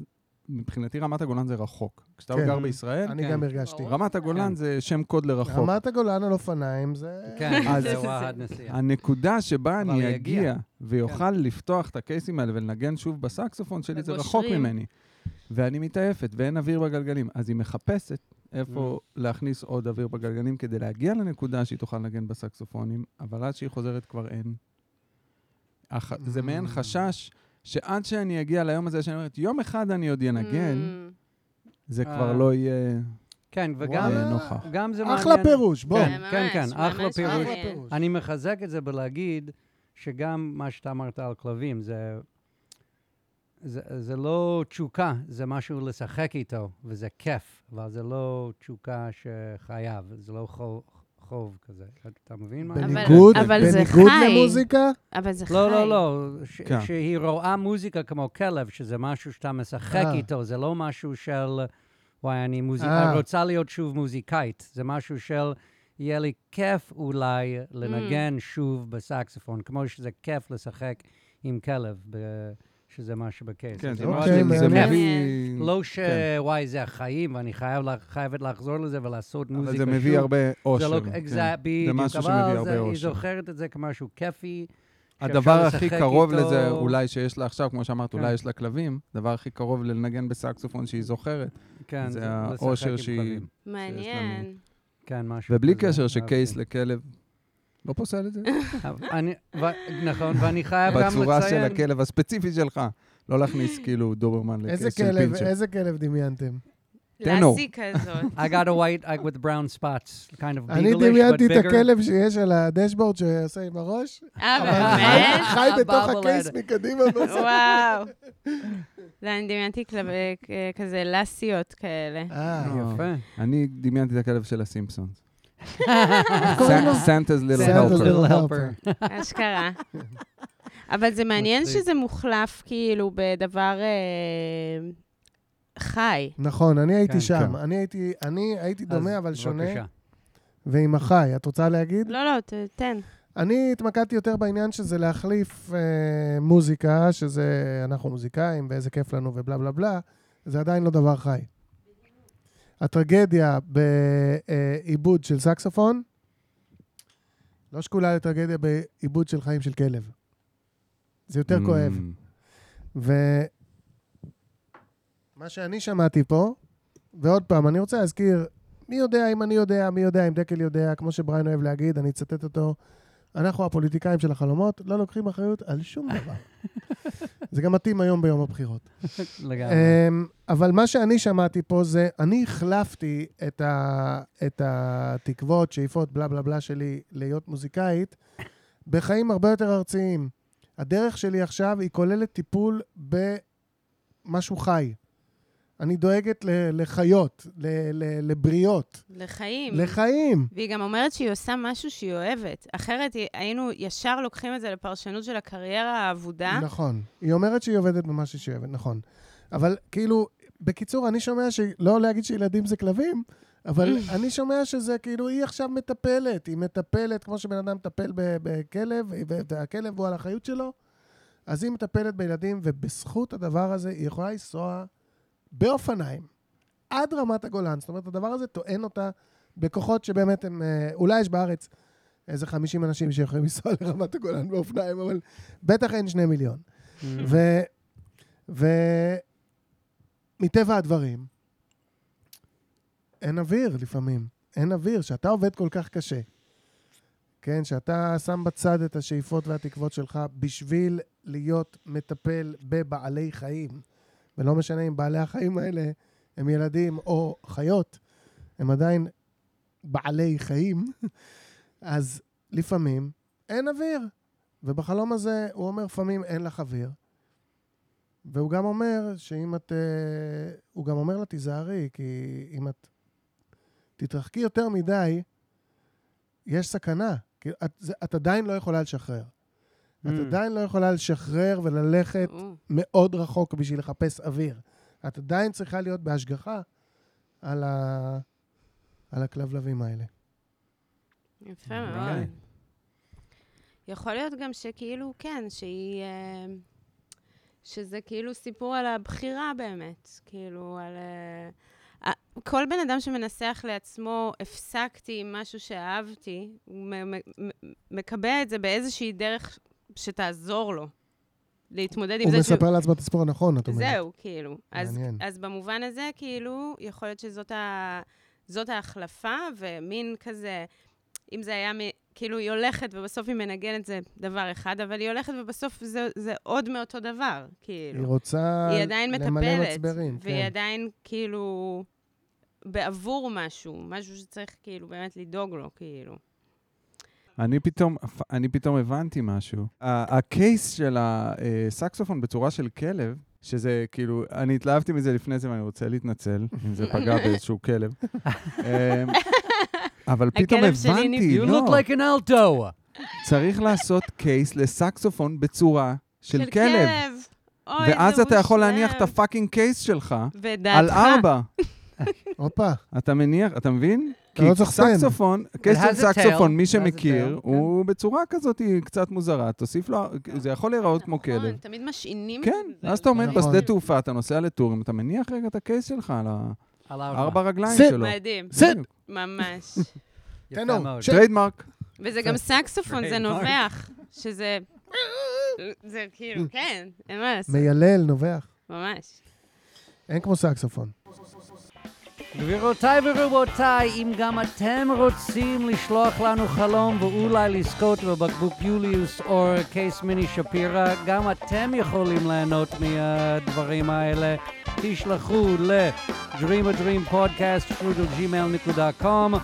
B: מבחינתי רמת הגולן זה רחוק. כשאתה
A: כן.
B: גר בישראל,
A: אני
E: כן.
A: גם הרגשתי.
E: ברור.
B: רמת הגולן
E: כן.
B: זה שם קוד לרחוק.
A: רמת הגולן על אופניים זה...
F: (laughs)
E: כן,
B: אז- אה,
E: זה וואחד נסיעה.
B: הנקודה שבה
E: אבל
B: אני
E: יגיע. כן.
B: אגיע ויוכל לפתוח את הקייסים האלה ולנגן שוב בסקסופון שלי, זה רחוק
F: וגושרים.
B: ממני. ואני מתעייפת ואין אוויר בגלגלים. אז היא מחפשת איפה
E: Mm-hmm.
B: להכניס עוד אוויר בגלגלים כדי להגיע לנקודה שהיא תוכל לנגן בסקסופונים, אבל עד שהיא חוזרת כבר אין. הח- זה מעין
A: Mm.
B: חשש שעד שאני אגיע ליום הזה, שאני אומרת, יום אחד אני עוד אנגן,
F: Mm,
B: זה
E: אה.
B: כבר לא יהיה
E: כן, וגם
B: אה, נוכח.
E: גם זה מעניין.
A: אחלה פירוש, בוא.
E: כן, כן,
F: ממש, אוקיי.
E: כן, אחלה
F: ממש
E: פירוש.
A: אחלה
F: מעניין.
A: פירוש.
E: אני מחזק את זה בלהגיד שגם מה שאתה אמרת על כלבים, זה, זה, זה לא תשוקה, זה משהו לשחק איתו, וזה כיף, אבל זה לא תשוקה שחייב, זה לא חוב, חוב כזה. אתה מבין מה? אני-
A: בניגוד,
F: אבל זה
A: בניגוד
F: חי.
A: למוזיקה,
F: אבל זה חי.
E: לא, לא, לא, ש-
B: כן.
E: שהיא רואה מוזיקה כמו כלב, שזה משהו שאתה משחק
A: אה.
E: איתו, זה לא משהו של, וואי, אני מוזיק-
A: אה.
E: רוצה להיות שוב מוזיקאית, זה משהו של, יהיה לי כיף אולי לנגן שוב בסקסופון, כמו שזה כיף לשחק עם כלב, ב- שזה מה שבקייס.
B: כן, זה כן.
A: אוקיי,
B: ממש...
A: מעניין.
B: זה מביא...
F: מעניין.
E: לא שוואי, זה החיים, ואני חייב לה- חייבת לחזור לזה ולעשות מוזיקה
B: אבל זה
E: שוב.
B: מביא הרבה
E: זה
B: אושר.
E: לא
B: כן.
E: אקזאט,
B: זה
E: בדיוק,
B: משהו שמביא
E: אבל
B: הרבה
E: זה- היא
B: אושר.
E: זוכרת את זה כמשהו כיפי. שאפשר
B: הדבר הכי
E: לשחק
B: קרוב
E: איתו.
B: לזה, אולי שיש לה עכשיו, כמו שאמרת,
E: כן.
B: אולי יש לה כלבים, הדבר הכי קרוב לנגן בסקסופון שהיא זוכרת.
E: כן,
B: זה
E: לשחק
B: האושר
E: עם
B: שהיא-
E: כלבים.
F: מעניין.
E: כן, משהו
B: ובלי
E: כזה.
B: קשר שקייס
E: (laughs) אהבתי.
B: לכלב, לא פוסל את זה?
E: אני- ו- נכון, ואני חייב גם לציין...
B: בצורה של הכלב הספציפי שלך. לא להכניס כאילו דוברמן
A: איזה
B: לקייס של
A: כלב,
B: פינצ'ר.
A: איזה כלב דמיינתם?
B: טנור.
F: לאסי
A: (laughs)
F: כזאת.
E: I got a white egg with brown spots, kind of beagleish, but
A: אני
E: bigger.
A: דמיינתי את הכלב שיש על הדשבורד שעושה עם
F: (laughs)
A: הראש,
F: אה,
A: אבל חי-
F: באמת?
A: חי בתוך
E: הבאבלד.
A: הקייס מקדימה. לא ועושה-
F: (laughs) וואו. לא, אני דמיינתי כלב- אה, כזה לאסיות
E: (laughs)
F: כאלה.
A: אה,
B: (laughs)
E: יפה.
B: אני דמיינתי את הכלב של הסימפסונס.
A: קוראים לו?
B: סנטס ליל
A: Santa's
B: הלפר.
A: Little
E: Little
A: Helper.
E: helper.
F: אשכרה. אבל זה מעניין
E: מצחיק.
F: שזה מוחלף כאילו בדבר אה,
A: (laughs)
F: חי.
A: נכון, אני
E: כן,
A: הייתי שם.
B: כן.
A: אני הייתי, אני הייתי דומה
E: אז
A: אבל שונה,
E: בבקשה.
A: ועם החי. את רוצה להגיד?
F: לא, לא, ת- תן.
A: אני התמקדתי יותר בעניין שזה להחליף אה, מוזיקה, שזה אנחנו מוזיקאים ואיזה כיף לנו ובלה בלה בלה, זה עדיין לא דבר חי. הטרגדיה בעיבוד של סקסופון לא שקולה לטרגדיה בעיבוד של חיים של כלב. זה יותר mm. כואב. ומה שאני שמעתי פה, ועוד פעם, אני רוצה להזכיר, מי יודע אם אני יודע, מי יודע אם דקל יודע, כמו שבריין אוהב להגיד, אני אצטט אותו, אנחנו הפוליטיקאים של החלומות, לא לוקחים אחריות על שום דבר. זה גם מתאים היום ביום הבחירות.
E: לגמרי.
A: אמ, אבל מה שאני שמעתי פה זה, אני החלפתי את, ה, את התקוות, שאיפות, בלה בלה בלה שלי להיות מוזיקאית, בחיים הרבה יותר ארציים. הדרך שלי עכשיו היא כוללת טיפול במשהו חי. אני דואגת ל- לחיות, ל- ל- לבריות,
F: לחיים.
A: לחיים.
F: והיא גם אומרת שהיא עושה משהו שהיא אוהבת. אחרת היא- היינו ישר לוקחים את זה לפרשנות של הקריירה האבודה.
A: נכון. היא אומרת שהיא עובדת במה שהיא אוהבת, נכון. אבל כאילו, בקיצור, אני שומע שלא להגיד שילדים זה כלבים, אבל אני שומע שזה כאילו, היא עכשיו מטפלת. היא מטפלת, כמו שבן אדם מטפל ב- בכלב, ו- והכלב הוא על האחריות שלו, אז היא מטפלת בילדים, ובזכות הדבר הזה היא יכולה לנסוע באופניים עד רמת הגולן. זאת אומרת, הדבר הזה טוען אותה בכוחות שבאמת הם... אה, אולי יש בארץ איזה 50 אנשים שיכולים לנסוע לרמת הגולן באופניים, אבל בטח אין שני מיליון.
E: Mm.
A: ו... ו... מטבע הדברים, אין אוויר לפעמים. אין אוויר. שאתה עובד כל כך קשה, כן? שאתה שם בצד את השאיפות והתקוות שלך בשביל להיות מטפל בבעלי חיים. ולא משנה אם בעלי החיים האלה הם ילדים או חיות, הם עדיין בעלי חיים. (laughs) אז לפעמים אין אוויר. ובחלום הזה הוא אומר לפעמים אין לך אוויר. והוא גם אומר שאם את... אה, הוא גם אומר לה תיזהרי, כי אם את תתרחקי יותר מדי, יש סכנה. כאילו, את, זה, את עדיין לא יכולה לשחרר. את
E: Mm.
A: עדיין לא יכולה לשחרר וללכת
F: או,
A: מאוד רחוק בשביל לחפש אוויר. את עדיין צריכה להיות בהשגחה על, ה... על הכלבלבים האלה.
F: יפה מאוד.
E: אוקיי.
F: יכול להיות גם שכאילו, כן, שהיא... אה, שזה כאילו סיפור על הבחירה באמת, כאילו על... אה, ה- כל בן אדם שמנסח לעצמו, הפסקתי עם משהו שאהבתי, הוא מ- מ- מ- מקבע את זה באיזושהי דרך שתעזור לו להתמודד עם
A: הוא
F: זה שהוא...
A: מספר לעצמו את הסיפור הנכון, את אומרת.
F: זהו, כאילו. אז,
A: מעניין.
F: אז במובן הזה, כאילו, יכול להיות שזאת ה... זאת ההחלפה, ומין כזה, אם זה היה, מ... כאילו, היא הולכת ובסוף היא מנגנת זה דבר אחד, אבל היא הולכת ובסוף זה, זה עוד מאותו דבר,
A: היא
F: כאילו.
A: רוצה
F: היא עדיין
A: למלא
F: מטפלת,
A: מצברים.
F: והיא
A: כן.
F: עדיין, כאילו, בעבור משהו, משהו שצריך, כאילו, באמת לדאוג לו, כאילו.
B: אני פתאום, אני פתאום הבנתי משהו. ה- הקייס של הסקסופון בצורה של כלב, שזה כאילו, אני התלהבתי מזה לפני זה ואני רוצה להתנצל, אם זה פגע באיזשהו כלב. אמ, אבל פתאום
F: הכלב שלי
B: הבנתי,
E: You
B: לא,
E: look like an alto.
B: צריך לעשות קייס לסקסופון בצורה של כלב.
F: אוי,
B: ואז
F: זה
B: אתה יכול
F: מושלם.
B: להניח את הפאקינג קייס שלך
F: ודעתך.
B: על ארבע.
A: הופה,
B: אתה מניח, אתה מבין?
A: אתה לא צריך לסיים.
B: סקסופון, קייס
E: It
B: של
E: has a tail. כן.
B: סקסופון, מי
E: It has a
B: שמכיר,
E: tail,
B: הוא בצורה כזאת היא קצת מוזרה, תוסיף לו, זה יכול להיראות כמו
F: נכון,
B: כלב.
F: תמיד משעינים
B: כאילו. כן,
F: את זה.
B: ואז אתה עומד
A: נכון.
B: בשדה תעופה, אתה נוסע לטורים, אתה מניח רגע את הקייס שלך על
E: אוקיי. על
B: ארבע רגליים
A: זה-
B: שלו.
F: מדהים,
A: סט,
F: ממש.
E: יפה
A: טנור,
E: מאוד.
A: שט.
B: טריידמרק.
F: וזה גם סקסופון, זה
E: Trademark.
F: נובח, שזה... זה כאילו, כן, אין מה לעשות,
A: מיילל, נובח.
F: ממש.
A: אין כמו סקסופון.
E: גבירותיי ורבותיי, אם גם אתם רוצים לשלוח לנו חלום ואולי לזכות בבקבוק יוליוס או קייס מיני שפירא, גם אתם יכולים ליהנות מהדברים האלה. תשלחו ל- dream a dream podcast frugalgmail.com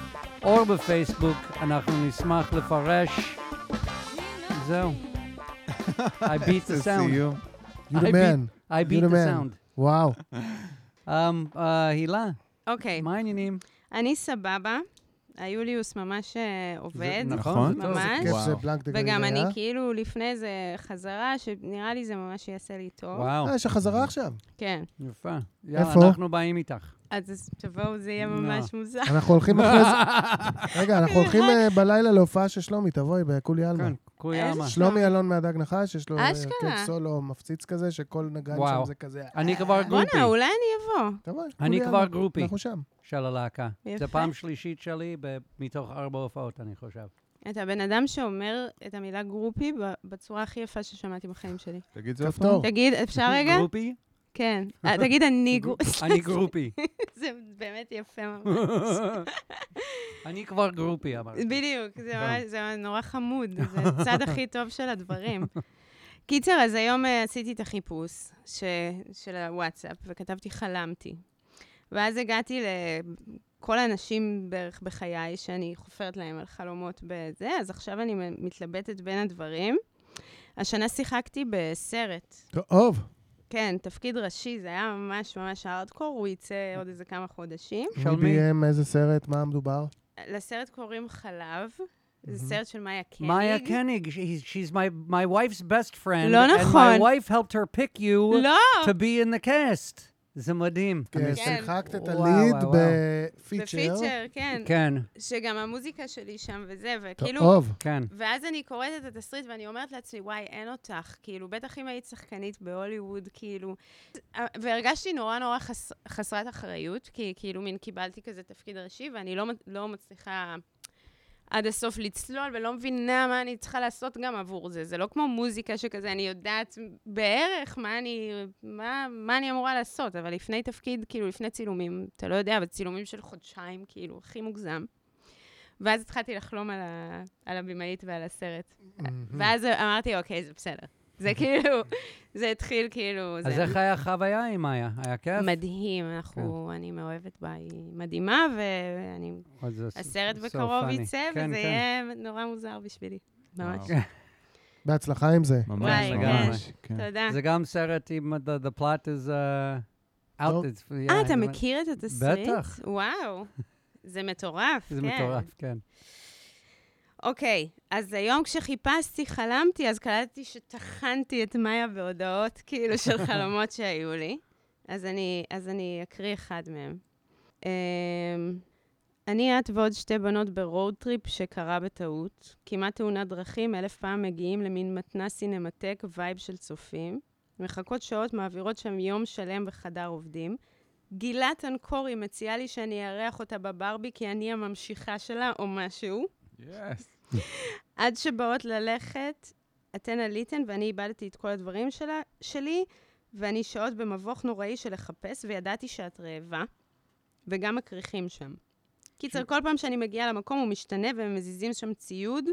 E: או בפייסבוק, אנחנו נשמח לפרש. זהו. I beat
B: (laughs)
E: the sound.
B: סיום.
A: You
E: I
A: the
E: beat-
A: man.
E: I
A: You
E: beat
A: the
E: the
A: man.
E: sound.
A: וואו.
E: אמ, אה, הילה,
F: אוקיי,
E: מה העניינים?
F: אני סבבה, היוליוס ממש אה, עובד,
B: נכון?
E: זה טוב, זה
F: ממש.
A: כיף
B: וואו.
A: זה בלנק דה
F: וגם אני
E: אה?
A: גלידיה.
F: כאילו לפני איזה חזרה, שנראה לי זה ממש יעשה לי טוב.
E: וואו.
A: אה, יש לך חזרה עכשיו.
F: כן,
E: יפה. יאללה,
A: איפה?
E: אנחנו
A: (laughs)
E: באים איתך.
F: אז אז תבואו, זה יהיה ממש מוזר.
A: אנחנו הולכים אחרי זה. רגע, אנחנו הולכים אה, בלילה להופעה של שלומי, תבואי, בכולי עלמה.
E: כן, קורי
F: איזה
E: עלמה.
F: ש-
A: שלומי אלון מהדג נחש, יש לו אה,
F: אשכרה.
A: הרכב סולו מפציץ כזה, שכל נגן
E: וואו.
A: שם זה כזה...
E: אני כבר גרופי
F: אה, בואנה, אולי אני אבוא.
A: תבואי,
E: אני
A: כולי
E: כבר
A: עלמה.
E: גרופי.
A: אנחנו שם.
E: של הלהקה. זו
F: יפה.
E: פעם שלישית שלי ב- מתוך ארבע הופעות, אני חושב.
F: אתה בן אדם שאומר את המילה גרופי ב- בצורה הכי יפה ששמעתי בחיים שלי.
B: תגיד זה עוד פעם.
A: כפתור.
F: תגיד, אפשר רגע?
E: גרופי?
F: כן. אה, תגיד, אני גרופי.
E: אני גרופי.
F: (laughs) זה באמת יפה ממש.
E: (laughs) אני כבר גרופי, אמרתי.
F: בדיוק, זה
E: גם.
F: ממש- זה ממש נורא חמוד,
E: (laughs)
F: זה הצד הכי טוב של הדברים. קיצר, אז היום אה, עשיתי את החיפוש ש- של הוואטסאפ, וכתבתי חלמתי. ואז הגעתי לכל האנשים בערך בחיי שאני חופרת להם על חלומות בזה, אז עכשיו אני מ- מתלבטת בין הדברים. השנה שיחקתי בסרט,
A: טוב.
F: כן, תפקיד ראשי, זה היה ממש ממש הארדקור, הוא יצא עוד איזה כמה חודשים.
A: מי
E: שלומי.
A: ביים איזה סרט, מה מדובר?
F: לסרט קוראים חלב, זה סרט של מאיה קניג.
E: מאיה קניג, she- she's my my wife's best friend.
F: כן, לא
E: And my
F: נכון.
E: wife helped her pick you
F: לא!
E: to be in the cast. זה מדהים.
A: כן,
F: כן.
A: שיחקת את
E: וואו,
A: הליד
E: וואו, וואו.
A: בפיצ'ר.
F: בפיצ'ר, כן.
E: כן,
F: שגם המוזיקה שלי שם וזה, וכאילו...
A: טוב.
E: כן.
F: ואז אני קוראת את התסריט ואני אומרת לעצמי, וואי, אין אותך. כאילו, בטח אם היית שחקנית בהוליווד, כאילו... והרגשתי נורא נורא חס... חסרת אחריות, כי כאילו מין קיבלתי כזה תפקיד ראשי, ואני לא, מצ- לא מצליחה עד הסוף לצלול, ולא מבינה מה אני צריכה לעשות גם עבור זה. זה לא כמו מוזיקה שכזה, אני יודעת בערך מה אני, מה, מה אני אמורה לעשות, אבל לפני תפקיד, כאילו, לפני צילומים, אתה לא יודע, אבל צילומים של חודשיים, כאילו, הכי מוגזם. ואז התחלתי לחלום על, ה, על הבמאית ועל הסרט. ואז אמרתי, אוקיי, זה בסדר. זה כאילו, זה התחיל כאילו,
E: אז
F: זה
E: איך היה החוויה עם מאיה? היה כן. כיף?
F: מדהים, אנחנו, אני מאוהבת בה, היא מדהימה, ואני
E: אז זה so-
F: הסרט
E: so
F: בקרוב
E: funny.
F: יצא,
E: כן, כן.
F: וזה יהיה נורא מוזר בשבילי. ממש.
B: וואו.
A: בהצלחה עם זה.
B: ממש,
F: וואי,
B: ממש. כן.
F: תודה.
E: זה גם סרט עם the, the plot is uh, out.
A: טוב.
E: It's- yeah,
F: אה, אתה
E: זה-
F: מכיר את התסריט?
E: בטח.
F: וואו, זה מטורף, כן.
E: זה מטורף, כן.
F: אוקיי, אז היום כשחיפשתי, חלמתי, אז קלטתי שטחנתי את מאיה בהודעות, כאילו, של חלומות שהיו לי. אז אני, אז אני אקריא אחד מהם. אמ, אני, את ועוד שתי בנות ברוד טריפ שקרה בטעות. כמעט תאונת דרכים, אלף פעם מגיעים למין מתנ"ס סינמטק, וייב של צופים. מחכות שעות, מעבירות שם יום שלם בחדר עובדים. גילה טנקורי מציעה לי שאני אארח אותה בברבי כי אני הממשיכה שלה או משהו.
B: יס.
F: עד שבאות ללכת, אתן עליתן ואני איבדתי את כל הדברים שלה, שלי, ואני שעות במבוך נוראי של לחפש, וידעתי שאת רעבה, וגם הכריכים שם. קיצר, כל פעם שאני מגיעה למקום הוא משתנה והם מזיזים שם ציוד,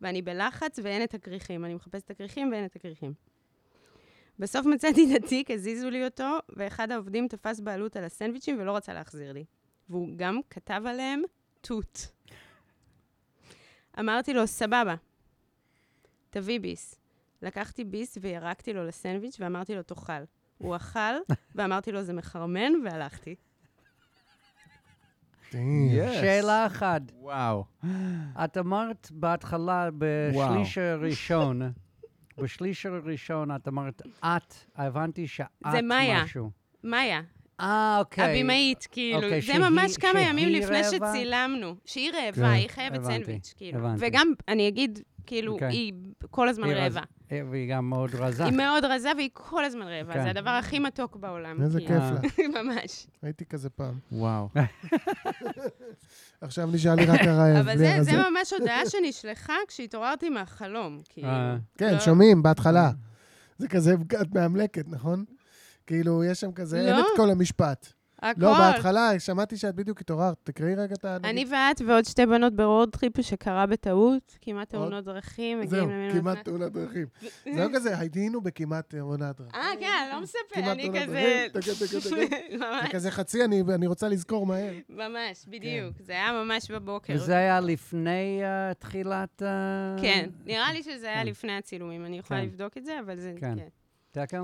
F: ואני בלחץ ואין את הכריכים. אני מחפשת את הכריכים ואין את הכריכים. בסוף מצאתי את התיק, הזיזו לי אותו, ואחד העובדים תפס בעלות על הסנדוויצ'ים ולא רצה להחזיר לי. והוא גם כתב עליהם תות. אמרתי לו, סבבה, תביא ביס. לקחתי ביס וירקתי לו לסנדוויץ' ואמרתי לו, תאכל.
E: (laughs)
F: הוא אכל, ואמרתי לו, זה מחרמן, והלכתי.
A: Damn.
E: שאלה אחת.
B: וואו.
E: את אמרת בהתחלה, בשליש הראשון, (laughs) בשליש הראשון את אמרת את, הבנתי שאת
F: זה מאיה.
E: משהו.
F: מאיה,
E: אה, אוקיי.
F: הבמאית, כאילו,
E: אוקיי,
F: זה
E: שהיא-
F: ממש כמה
E: שהיא
F: ימים לפני
E: רעבה?
F: שצילמנו. שהיא
E: כן,
F: רעבה, היא חייבת
E: הבנתי,
F: סנדוויץ', כאילו.
E: הבנתי.
F: וגם, אני אגיד, כאילו,
E: אוקיי.
F: היא כל הזמן
E: היא רזה.
F: רעבה.
E: אה, והיא גם מאוד רזה.
F: היא מאוד רזה והיא כל הזמן רעבה.
E: כן.
F: זה הדבר הכי מתוק בעולם.
A: איזה
F: כאילו.
A: כיף
E: אה.
A: לה,
F: (laughs) ממש.
A: הייתי כזה פעם.
B: וואו.
A: עכשיו נשאר לי רק
F: (laughs)
A: הרעב.
F: אבל
A: בלי
F: זה-
A: הרזה.
F: זה ממש הודעה שנשלחה כשהתעוררתי מהחלום, כאילו.
E: אה,
A: כן,
F: לא.
A: שומעים בהתחלה. זה כזה, את מאמלקת, נכון? כאילו, יש שם כזה, אין
F: לא.
A: את כל המשפט.
F: הכל.
A: לא, בהתחלה שמעתי שאת בדיוק התעוררת. תקראי רגע את ה...
F: אני ואת ועוד שתי בנות ברוד טריפ שקרה בטעות, כמעט תאונות דרכים,
A: זהו,
F: מגיעים למינימום.
A: כמעט תאונת דרכים. זה לא כזה, היינו בכמעט תאונת דרכים.
F: אה, כן, לא מספר,
A: כמעט
F: אני
A: תאונת
F: כזה...
A: דרכים, תקע, תקע,
F: (laughs) ממש,
A: זה כזה חצי, אני אני רוצה לזכור מהר. כן.
F: ממש, בדיוק. זה היה ממש בבוקר.
E: וזה היה לפני אה, תחילת... אה,
F: אוקיי. כן, נראה לי שזה היה
E: כן.
F: לפני הצילומים, אני יכולה
E: כן.
F: לבדוק את זה, אבל זה...
E: כן.
F: כן.
E: דקל,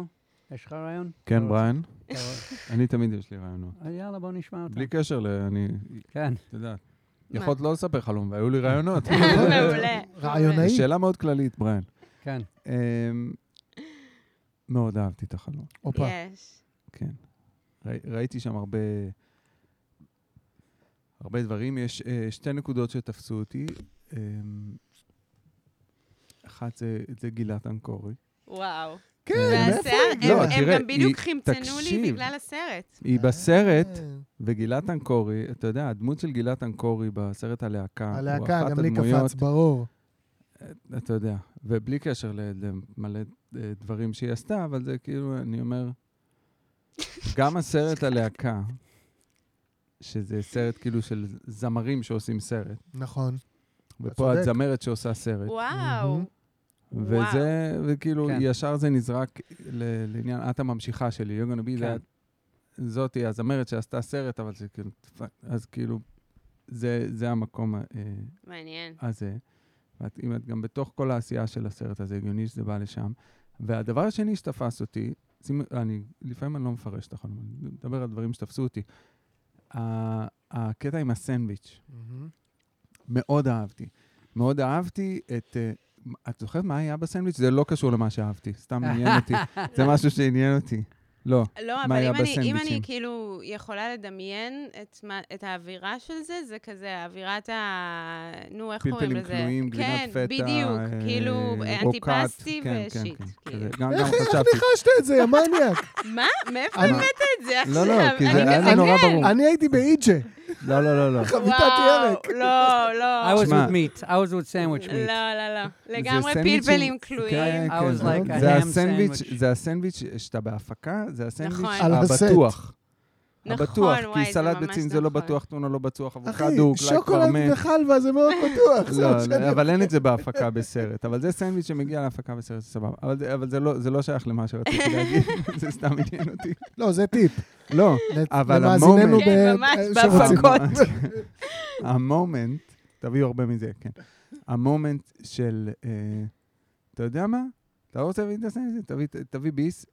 E: יש לך רעיון?
B: כן, בריין?
E: אתה רוצה-
B: אני תמיד יש לי רעיונות.
E: אה, יאללה, בוא נשמע אותו.
B: בלי קשר ל... אני...
E: כן.
B: את יודעת.
F: מה? אה.
B: יכולת לא לספר חלום, והיו לי רעיונות.
F: (laughs) מעולה. מעולה.
A: רעיונאי.
B: שאלה מאוד כללית, בריין.
E: כן.
B: אמ, מאוד אהבתי את החלום,
A: הופה.
F: יש.
B: כן. ראי- ראיתי שם הרבה... הרבה דברים. יש אה, שתי נקודות שתפסו אותי. אמ, אחת זה- זה גילת אנקורי.
F: וואו.
A: כן, מאיפה?
F: והשיער,
B: לא,
F: הם- הם
B: תראה,
F: גם בדיוק
B: היא-
F: חמצנו לי
B: תקשיב.
F: בגלל הסרט.
B: היא בסרט,
A: אה,
B: וגילת אנקורי, אתה יודע, הדמות של גילת אנקורי בסרט הלהקה, אה, הוא
A: הלהקה,
B: אחת
A: גם לי
B: הדמויות-
A: קפץ, ברור.
B: אתה יודע, ובלי קשר ל- למלא אה, דברים שהיא עשתה, אבל זה כאילו, אני אומר, גם הסרט הלהקה, שזה סרט כאילו של זמרים שעושים סרט,
A: נכון.
B: ופה את
A: צודק.
B: זמרת שעושה סרט,
F: וואו. וואו.
B: וזה, וכאילו,
E: כן.
B: ישר זה נזרק ל- לעניין, את הממשיכה שלי, you're gonna be
E: כן.
B: that. זאתי הזמרת שעשתה סרט, אבל זה כאילו, אז כאילו, זה, זה המקום ה- אה,
F: מעניין.
B: הזה. ואת, אם את גם בתוך כל העשייה של הסרט הזה, הגיוני שזה בא לשם. והדבר השני שתפס אותי, שימי, אני, לפעמים אני לא מפרש את החלום, אני מדבר על דברים שתפסו אותי. ה- הקטע עם הסנדוויץ',
A: מהמם.
B: מאוד אהבתי. מאוד אהבתי את... אה, את זוכרת מה היה בסנדוויץ'? זה לא קשור למה שאהבתי, סתם עניין
F: (laughs)
B: אותי. זה משהו שעניין אותי. לא.
F: לא,
B: מה
F: אבל
B: היה
F: אם אני, אם אני
B: בסנדוויצ'ים?
F: כאילו יכולה לדמיין את, מה, את האווירה של זה, זה כזה אווירת ה... נו, איך קוראים
B: פלפלים
F: לזה?
B: כלואים, גבינת
F: כן,
B: פטה.
F: בדיוק,
B: אה,
F: כאילו
B: רוקט,
F: אנטיפסטי
B: כן, כן,
F: ושיט.
B: כן,
F: כאילו.
B: כזה. גם גם
A: איך איך
B: חשבתי.
A: ניחשת את זה, יא
B: (laughs)
A: מניאק?
F: מה? מאיפה
A: אני-
F: הבאת את זה עכשיו?
B: לא, לא, כי זה
F: אני
B: היה לי
F: מזלזלת.
B: נורא ברור.
A: אני הייתי באיג'ה,
B: לא, לא, לא, לא.
A: חביתת ירק.
F: וואו, לא,
B: (laughs)
E: I
F: לא.
E: was
B: שמע.
E: with meat. I was with sandwich meat.
F: לא, לא, לא. לגמרי
B: סנדוויצ'ים-
F: פלפלים כלואים.
B: כן,
E: I was
B: כן.
E: like a
B: זה
E: ham
B: הסנדוויץ',
E: sandwich.
B: זה הסנדוויץ' שאתה בהפקה, זה
F: נכון.
B: הסנדוויץ'
A: על הסט.
B: הבטוח.
F: נכון,
B: הבטוח,
F: וואי,
B: כי
F: זה
B: סלט
F: ממש
B: ביצים זה לא
F: נכון.
B: בטוח, טונה לא בטוח,
A: אחי,
B: אבוקדו, קלייק
A: שוקולד
B: פרמן.
A: וחלבה זה
B: (laughs)
A: מאוד בטוח. זה
B: לא,
A: מה שאני-
B: אבל אין את זה בהפקה בסרט. אבל זה סנדוויץ' שמגיע להפקה בסרט, זה סבבה. אבל זה- אבל זה לא- זה לא שייך למה שרציתי להגיד, (laughs) זה סתם עניין אותי.
A: לא, זה טיפ.
B: לא, אבל
A: למאזיננו
B: המומנט-
F: כן,
A: ב- אה,
F: ממש,
A: שרוצים.
F: בהפקות.
B: (laughs) המומנט, תביאו הרבה מזה, כן. המומנט של, אה, אתה יודע מה? אתה לא רוצה להביא את הסנדוויץ', תביא- תביא ביס,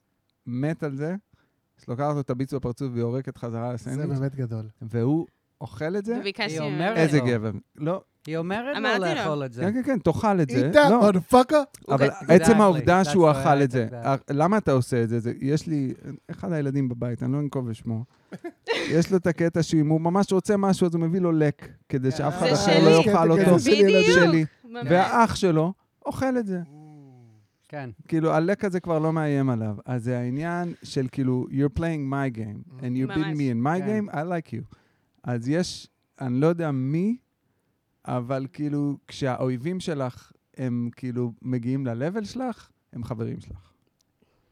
B: מת על זה, אז לוקחת לו את הביס בפרצוף ויורקת חזרה
A: זה
B: לסנדוויץ',
A: באמת גדול.
B: והוא אוכל את זה,
F: וביקשתי
E: היא
F: ממנו.
E: אומרת-
B: איזה
E: לא.
B: גבר. לא,
E: היא אומרת
F: אמרתי
E: לו
F: לו.
E: לאכול את זה.
B: כן, כן, כן, תאכל את זה.
A: איתה,
B: לא,
A: מודפאקה.
B: אבל
E: אוקיי, Exactly,
B: עצם העובדה
E: that's
B: שהוא
E: why I
B: אכל את
E: took
B: זה, אה,
E: that.
B: למה אתה עושה את זה? זה- יש לי, אחד הילדים בבית, אני לא אנקוב בשמו,
E: (laughs)
B: יש לו את הקטע שאם הוא ממש רוצה משהו, אז הוא מביא לו לק, כדי
E: אה,
B: שאף אחד
F: זה
B: אחר
F: שלי.
B: לא יאכל
A: כן,
B: אותו.
A: זה של ילדים.
F: בדיוק.
B: שלי.
F: ממש.
B: והאח שלו אוכל את זה.
E: כן.
B: כאילו, הלק הזה כבר לא מאיים עליו. אז זה העניין של כאילו, you're playing my game, and you beat
F: ממש.
B: me in my
E: Mm-hmm. כן.
B: game, I like you. אז יש, אני לא יודע מי, אבל כאילו, כשהאויבים שלך הם כאילו מגיעים ל-level שלך, הם חברים שלך.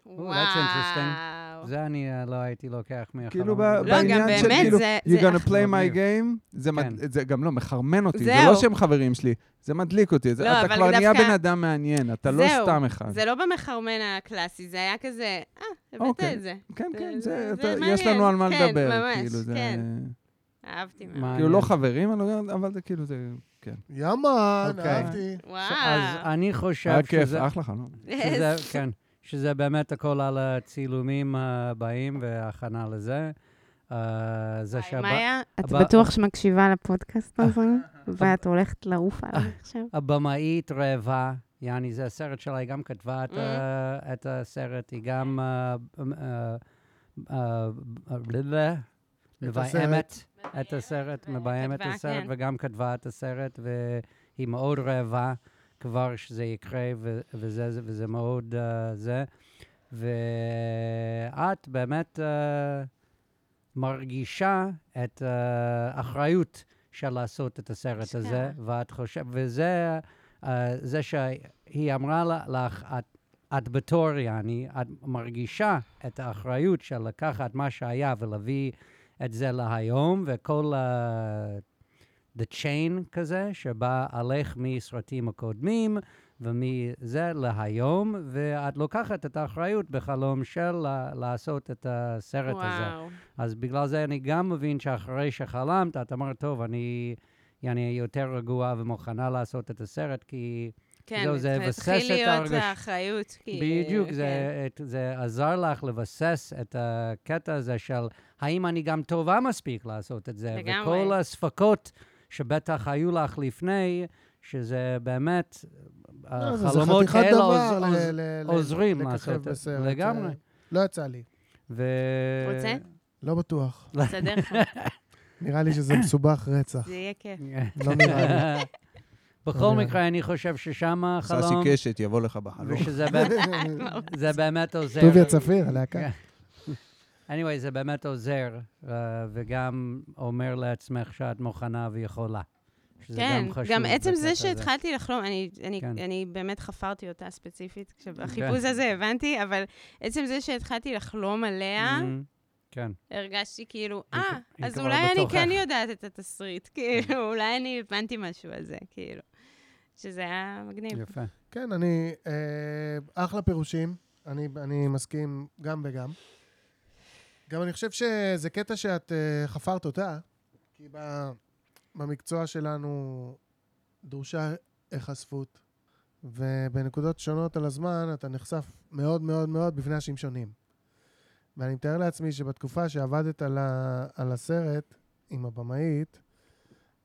E: that's interesting.
F: וואו.
E: זה אני אה, לא הייתי לוקח מהחלום.
B: כאילו, ב-
E: הזה.
F: לא, גם
B: בעניין של
F: באמת
B: כאילו,
F: זה-
B: you're
F: זה
B: gonna play my
E: מגניב.
B: game, זה מד-
E: כן.
B: זה גם לא מחרמן אותי, זה
F: זהו.
B: לא שהם חברים שלי, זה מדליק אותי. זה-
F: לא,
B: אתה
F: אבל
B: כבר נהיה
F: דווקא-
B: בן אדם מעניין, אתה לא
F: זהו,
B: סתם אחד.
F: זה לא במחרמן הקלאסי, זה היה כזה, אה, הבאת
B: אוקיי.
F: את זה.
B: כן,
F: זה-
B: כן,
F: זה-
B: זה,
F: זה
B: אתה,
F: מעניין.
B: יש לנו על מה
F: כן,
B: לדבר.
F: ממש,
B: כאילו, זה,
F: כן. אהבתי מאוד.
E: מעניין.
B: כאילו, לא חברים, אני לא- אבל זה כאילו, זה... כן.
A: יאמן,
E: אוקיי.
A: אהבתי.
E: אז
F: וואו.
E: אני חושב
B: היה כיף, אה?
E: שזה...
B: אחלה חלום.
E: שזה,
F: (laughs)
E: כן, שזה באמת הכל על הצילומים הבאים וההכנה לזה. אה, זה
F: וואי,
E: שהב-
F: מאיה, את
E: הבא- אה.
F: בטוח שמקשיבה לפודקאסט הזה? ואת הולכת לעוף עליי עכשיו?
E: הבמאית רעבה, יעני, זה הסרט שלה, היא גם כתבה את,
F: Mm.
E: ה- את הסרט, היא גם אה, אה, אה, אה, מביימת את הסרט, מביימת את
F: כתבה,
E: הסרט,
F: כן.
E: וגם כתבה את הסרט, והיא מאוד רעבה כבר שזה יקרה, ו- וזה זה- וזה מאוד אה, זה. ואת באמת אה, מרגישה את אה, האחריות של לעשות את הסרט הזה, ואת חושבת, וזה אה, זה שהיא אמרה לה- לך, את, את בתור יעני, את מרגישה את האחריות של לקחת מה שהיה ולהביא את זה להיום, וכל ה... the chain כזה, שבה עליך מסרטים הקודמים ומזה להיום, ואת לוקחת את האחריות בחלום של לה- לעשות את הסרט הזה.
F: וואו.
E: אז בגלל זה אני גם מבין שאחרי שחלמת, את אמרת, טוב, אני, אני יותר רגועה ומוכנה לעשות את הסרט, כי
F: כן,
E: זהו, זה יבסס
F: התחיל
E: את
F: להיות
E: ההרגש-
F: האחריות. כי-
E: בדיוק,
F: כן.
E: זה, את, זה עזר לך לבסס את הקטע הזה של האם אני גם טובה מספיק לעשות את זה.
F: לגמרי.
E: וכל הספקות שבטח היו לך לפני, שזה באמת,
A: לא, זה-
E: החלומות
A: זה חתיכת
E: האלה
A: דבר ל-
E: עוז, עוז,
A: ל- ל-
E: עוזרים
A: לככב
E: לעשות את זה.
A: בסרט.
E: לגמרי.
A: אה, לא יצא לי,
E: ו...
F: רוצה?
A: לא בטוח.
F: כן. תסדר
E: (laughs)
F: לך,
A: נראה לי שזה מסובך רצח.
F: זה יהיה כיף.
A: לא נראה לי.
E: (laughs)
A: לא
E: בכל מקרה, אני חושב ששם
G: ססי
E: החלום,
G: קשת יבוא לך בחלום.
E: ושזה באמת-
A: (laughs)
E: זה באמת עוזר.
A: טוביה צפיר, הלהקה.
E: כן. anyway, זה באמת עוזר, uh, וגם אומר לעצמך שאת מוכנה ויכולה. שזה
F: כן,
E: חשוב.
F: גם עצם זה
E: בקטע הזה.
F: שהתחלתי לחלום, אני- אני-
E: כן.
F: אני באמת חפרתי אותה ספציפית, כשבחיפוש הזה הבנתי, אבל עצם זה שהתחלתי לחלום עליה,
E: Mhm, כן.
F: הרגשתי כאילו,
E: היא
F: אה,
E: כ- היא
F: אז
E: כבר
F: אולי אני
E: בתוכך."
F: כן יודעת את
A: כן.
F: התסריט, כאילו, אולי אני הבנתי משהו על זה, כאילו. שזה היה מגניב.
E: יפה.
A: כן, אני... אה, אחלה פירושים. אני, אני מסכים גם וגם. גם אני חושב שזה קטע שאת אה, חפרת אותה, כי ב, במקצוע שלנו דרושה היחשפות, ובנקודות שונות על הזמן אתה נחשף מאוד מאוד מאוד בפני אנשים שונים. ואני מתאר לעצמי שבתקופה שעבדת על, ה, על הסרט עם הבמאית,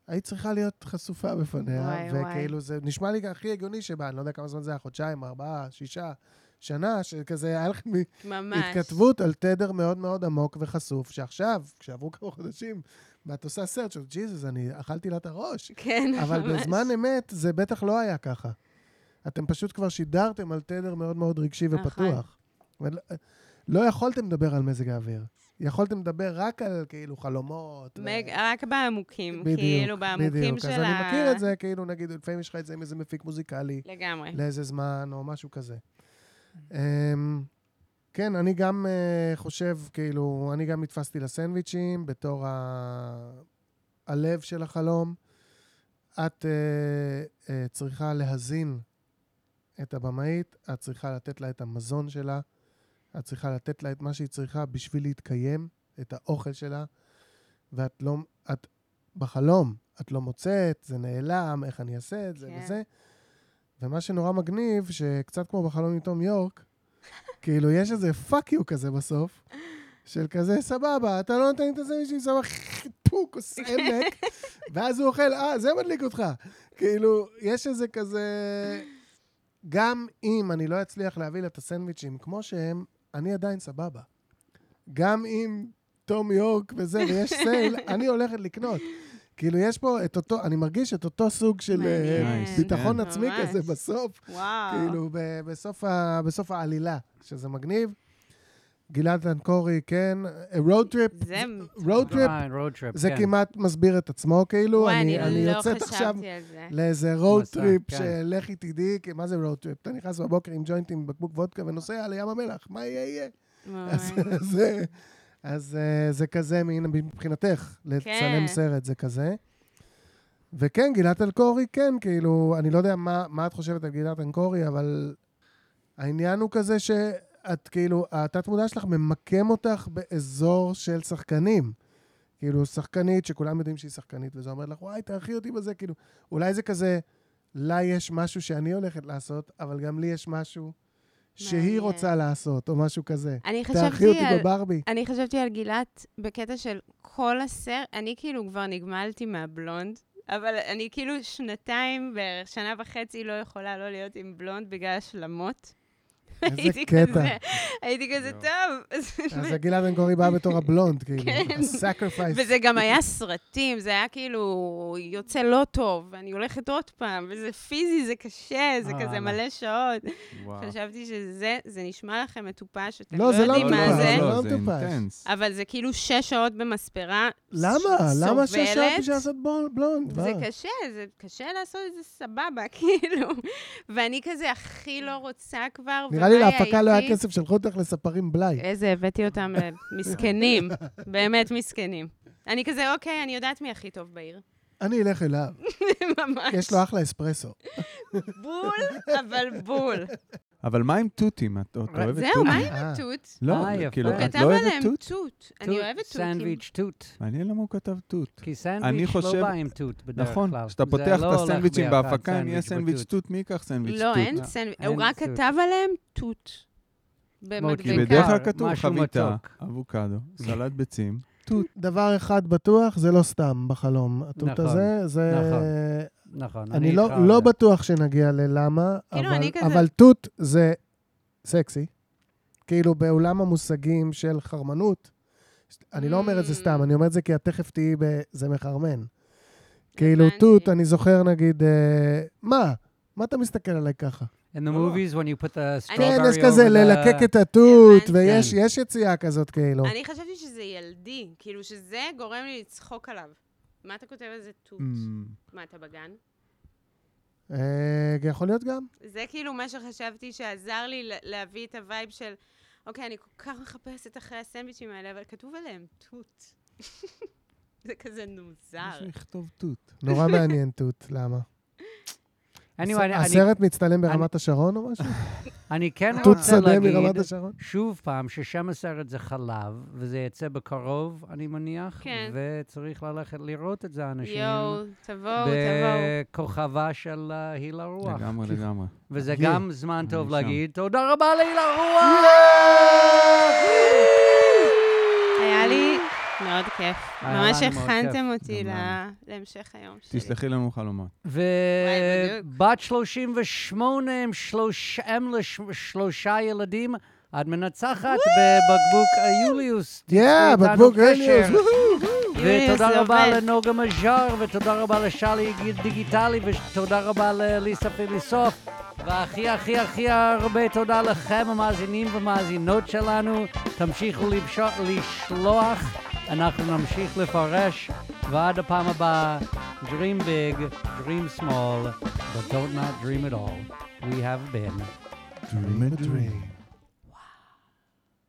A: היית צריכה להיות חשופה בפניה,
F: וואי, וואי.
A: וכאילו זה נשמע לי הכי הגיוני שבה, אני לא יודע כמה זמן זה היה, חודשיים, ארבעה, שישה, שנה, שכזה היה לך מ-
F: ממש.
A: התכתבות על תדר מאוד מאוד עמוק וחשוף, שעכשיו, כשעברו כמה חודשים, ואת עושה סרט, שאת ג'יזוס, אני אכלתי לה את
F: (laughs)
A: הראש.
F: כן, ממש.
A: אבל בזמן אמת זה בטח לא היה ככה. אתם פשוט כבר שידרתם על תדר מאוד מאוד רגשי
F: נכון.
A: ופתוח. ולא- לא יכולתם לדבר על מזג האוויר. יכולתם לדבר רק על כאילו חלומות. ו-
F: מג- רק בעמוקים,
A: בדיוק,
F: כאילו, בעמוקים
A: בדיוק.
F: של
A: אז
F: ה...
A: אני מכיר את זה, כאילו, נגיד, לפעמים יש לך את זה עם איזה מפיק מוזיקלי.
F: לגמרי.
A: לאיזה זמן, או משהו כזה. אמ, כן, אני גם אה, חושב, כאילו, אני גם נתפסתי לסנדוויצ'ים בתור ה... הלב של החלום. את אה, אה, צריכה להזין את הבמאית, את צריכה לתת לה את המזון שלה, את צריכה לתת לה את מה שהיא צריכה בשביל להתקיים, את האוכל שלה, ואת לא, את בחלום, את לא מוצאת, זה נעלם, איך אני אעשה את זה
F: כן.
A: וזה. ומה שנורא מגניב, שקצת כמו בחלום עם תום יורק, (laughs) כאילו, יש איזה פאק יו כזה בסוף, של כזה, סבבה, אתה לא נותן לי את זה מישהו, סבבה, פוק, עושה עמק, ואז הוא אוכל, אה, זה מדליק אותך. כאילו, יש איזה כזה... גם אם אני לא אצליח להביא לה את הסנדוויצ'ים כמו שהם, אני עדיין סבבה.
F: (laughs)
A: גם אם תום יורק וזה, ויש סייל, אני הולכת לקנות. כאילו, יש פה את אותו, אני מרגיש את אותו סוג של אה,
F: מעניין.
B: Nice.
A: ביטחון
F: כן.
A: עצמי
F: ממש. אה.
A: כזה בסוף,
F: וואו.
A: כאילו, ב- בסוף ה- בסוף העלילה, שזה מגניב. גלעד אנקורי, כן, road trip,
F: זה...
A: road trip,
E: אה, road trip,
A: זה
E: כן.
A: כמעט מסביר את עצמו, כאילו,
F: וואי,
A: אני אני
F: אני לא
A: יוצאת עכשיו
F: חשבתי על זה.
A: לאיזה road
E: מסע,
A: trip
E: כן.
A: שלכי תדעי, כי מה זה road trip? אתה נכנס בבוקר עם ג'וינט עם בקבוק וודקה ונוסע לים המלח, מה יהיה יהיה? אז
F: ממש.
A: (laughs) זה- אז אה, זה כזה, מין- מבחינתך, לצלם
F: כן.
A: סרט זה כזה. וכן, גלעד אלקורי, כן, כאילו, אני לא יודע מה מה את חושבת על גלעד אלקורי, אבל העניין הוא כזה שאת, כאילו, התת-מודע שלך ממקם אותך באזור של שחקנים. כאילו, שחקנית שכולם יודעים שהיא שחקנית, וזה אומר לך, וואי, תערכי אותי בזה, כאילו, אולי זה כזה, לה יש משהו שאני הולכת לעשות, אבל גם לי יש משהו שהיא
F: מעניין.
A: רוצה לעשות, או משהו כזה.
F: אני
A: תערכי
F: חשבתי
A: אותי
F: על... (laughs)
A: בברבי.
F: אני חשבתי על גילת בקטע של כל הסרט, אני כאילו כבר נגמלתי מהבלונד, אבל אני כאילו שנתיים בערך, שנה וחצי לא יכולה לא להיות עם בלונד בגלל השלמות.
A: איזה
F: הייתי
A: קטע.
F: כזה- הייתי כזה, טוב.
A: אז הגלעד אנגורי בא בתור הבלונד, כאילו, (laughs)
F: כן.
A: הסקרפייס.
F: וזה גם היה סרטים, זה היה כאילו יוצא לא טוב, ואני הולכת עוד פעם, וזה פיזי, זה קשה, זה
E: אה,
A: לא.
F: כזה
E: וואלה.
F: מלא שעות.
B: וואו.
F: חשבתי שזה, זה נשמע לכם מטופש, אתם
A: לא,
F: לא
A: זה לא
F: יודעים
A: מטופש,
F: מה זה.
A: לא, לא
B: זה
A: מטופש.
B: אינטנס.
F: אבל זה כאילו שש שעות במספרה
A: למה?
F: ס-
A: למה שש שעות
F: סובלת.
A: בשביל לעשות בול- בלונד?
F: זה
A: מה?
F: קשה, זה קשה לעשות את זה סבבה, (laughs) כאילו. ואני כזה הכי לא רוצה כבר,
A: נראה לי
F: ומה
A: להפקה לא היה
F: הייתי? אה.
A: כסף, שלחו אותך לספרים בלאי.
F: איזה הבאתי אותם
A: (laughs)
F: למסכנים, באמת מסכנים. אני כזה, אוקיי, אני יודעת מי הכי טוב בעיר. (laughs)
A: אני אלך אליו,
F: ממש.
A: יש לו אחלה אספרסו.
F: בול, אבל בול.
B: אבל מה עם תותים? את את אוהבת תותים?
F: זהו, מה עם
A: אה.
F: התות?
B: לא,
E: אה, יפה.
B: כאילו,
E: הוא
F: הוא
B: את
F: כתב
B: לא אוהבת
F: עליהם
B: תות?
F: תות. אני אוהבת תותים.
E: סנדוויץ' תות.
B: מעניין למה הוא כתב תות.
E: כי
B: אני
E: סנדוויץ'
B: חושב-
E: לא בא עם תות בדרך כלל.
B: נכון, כשאתה
E: זה
B: פותח
E: לא
B: את
E: הולך
B: הסנדוויצ'ים
E: ביחד,
B: בהפקה, אם יהיה סנדוויץ' תות, מי ייקח סנדוויץ'
F: לא,
B: תות?
F: אין סנדוויץ', הוא רק
E: אין תות.
F: כתב עליהם תות.
B: כי
E: בעיקר
B: כאילו בדרך
F: במדבקה.
B: כלל כתוב
E: משהו
B: חביתה,
E: מתוק.
B: אבוקדו, סלט
E: (laughs)
B: ביצים, תות.
A: דבר אחד בטוח, זה לא סתם בחלום. התות
E: נכון,
A: הזה, זה...
E: נכון. נכון,
A: אני
E: איתך
A: לא-
E: על
A: לא
E: זה.
A: בטוח שנגיע ללמה,
F: כאילו,
A: אבל-
F: אני כזה-
A: אבל תות זה סקסי. כאילו, בעולם המושגים של חרמנות, אני לא אומר את זה סתם,
F: Mm.
A: אני אומר את זה כי את תכף תהיי ב... זה מחרמן. כאילו,
F: הבנתי.
A: תות, אני זוכר, נגיד, אה, מה? מה אתה מסתכל עליי ככה?
E: In the movies, when you put the strawberry
A: כן,
E: over
A: יש כזה
E: the-
A: ללקק את התות,
F: לא הבנתי.
A: ויש
E: כן.
A: יש יציאה כזאת, כאילו.
B: לא.
F: אני חשבתי שזה ילדי, כאילו שזה גורם לי לצחוק עליו. מה אתה כותב על זה תות?
B: Mm.
F: מה, אתה בגן?
A: אה, יכול להיות גם.
F: זה כאילו מה שחשבתי שעזר לי ל- להביא את הווייב של, אוקיי, אני כל כך מחפשת אחרי הסנדוויצ'ים האלה, אבל כתוב עליהם תות. (laughs) זה כזה נוזר.
B: מישהו יכתוב תות.
A: נורא מעניין תות, למה?
E: Anyway, אני-
A: הסרט מצטלם ברמת השרון או משהו?
E: אני כן
A: תות
E: רוצה
A: שדה
E: להגיד,
A: מרמת השרון?
E: שוב פעם, ששם הסרט זה חלב, וזה יצא בקרוב, אני מניח,
F: כן.
E: וצריך ללכת לראות את זה, אנשים.
F: יואו, תבואו, תבואו.
E: בכוכבה של אה, הילה רוח.
B: לגמרי,
E: (laughs)
B: לגמרי.
E: וזה
A: כן.
E: גם זמן טוב
B: שם.
E: להגיד תודה רבה להילה רוח!
F: היה לי מאוד כיף.
E: היה
F: ממש
E: לנו מאוד
F: הכנתם אותי
B: גם לנו.
F: ל- להמשך היום שלי.
B: תשלחי לנו חלומות.
F: וואי, בדיוק.
E: ובת 38, עם שלוש- אם לשלושה ילדים, את מנצחת בבקבוק אה, יוליוס.
A: יא,
E: תיצרו איתנו
A: בקבוק
E: קשר.
A: רניוס.
F: יוליוס,
E: ותודה
F: זה
E: רבה
F: עובד.
E: לנוגה מז'אר, ותודה רבה לשלי דיגיטלי, ותודה רבה לליסה פיליסוף, והכי הכי הכי הרבה תודה לכם המאזינים והמאזינות שלנו. תמשיכו לבש- לשלוח, אנחנו נמשיך לפרש, ועד הפעם הבאה, Dream big, dream small, but don't not dream at all. We have been.
A: Dream a dream.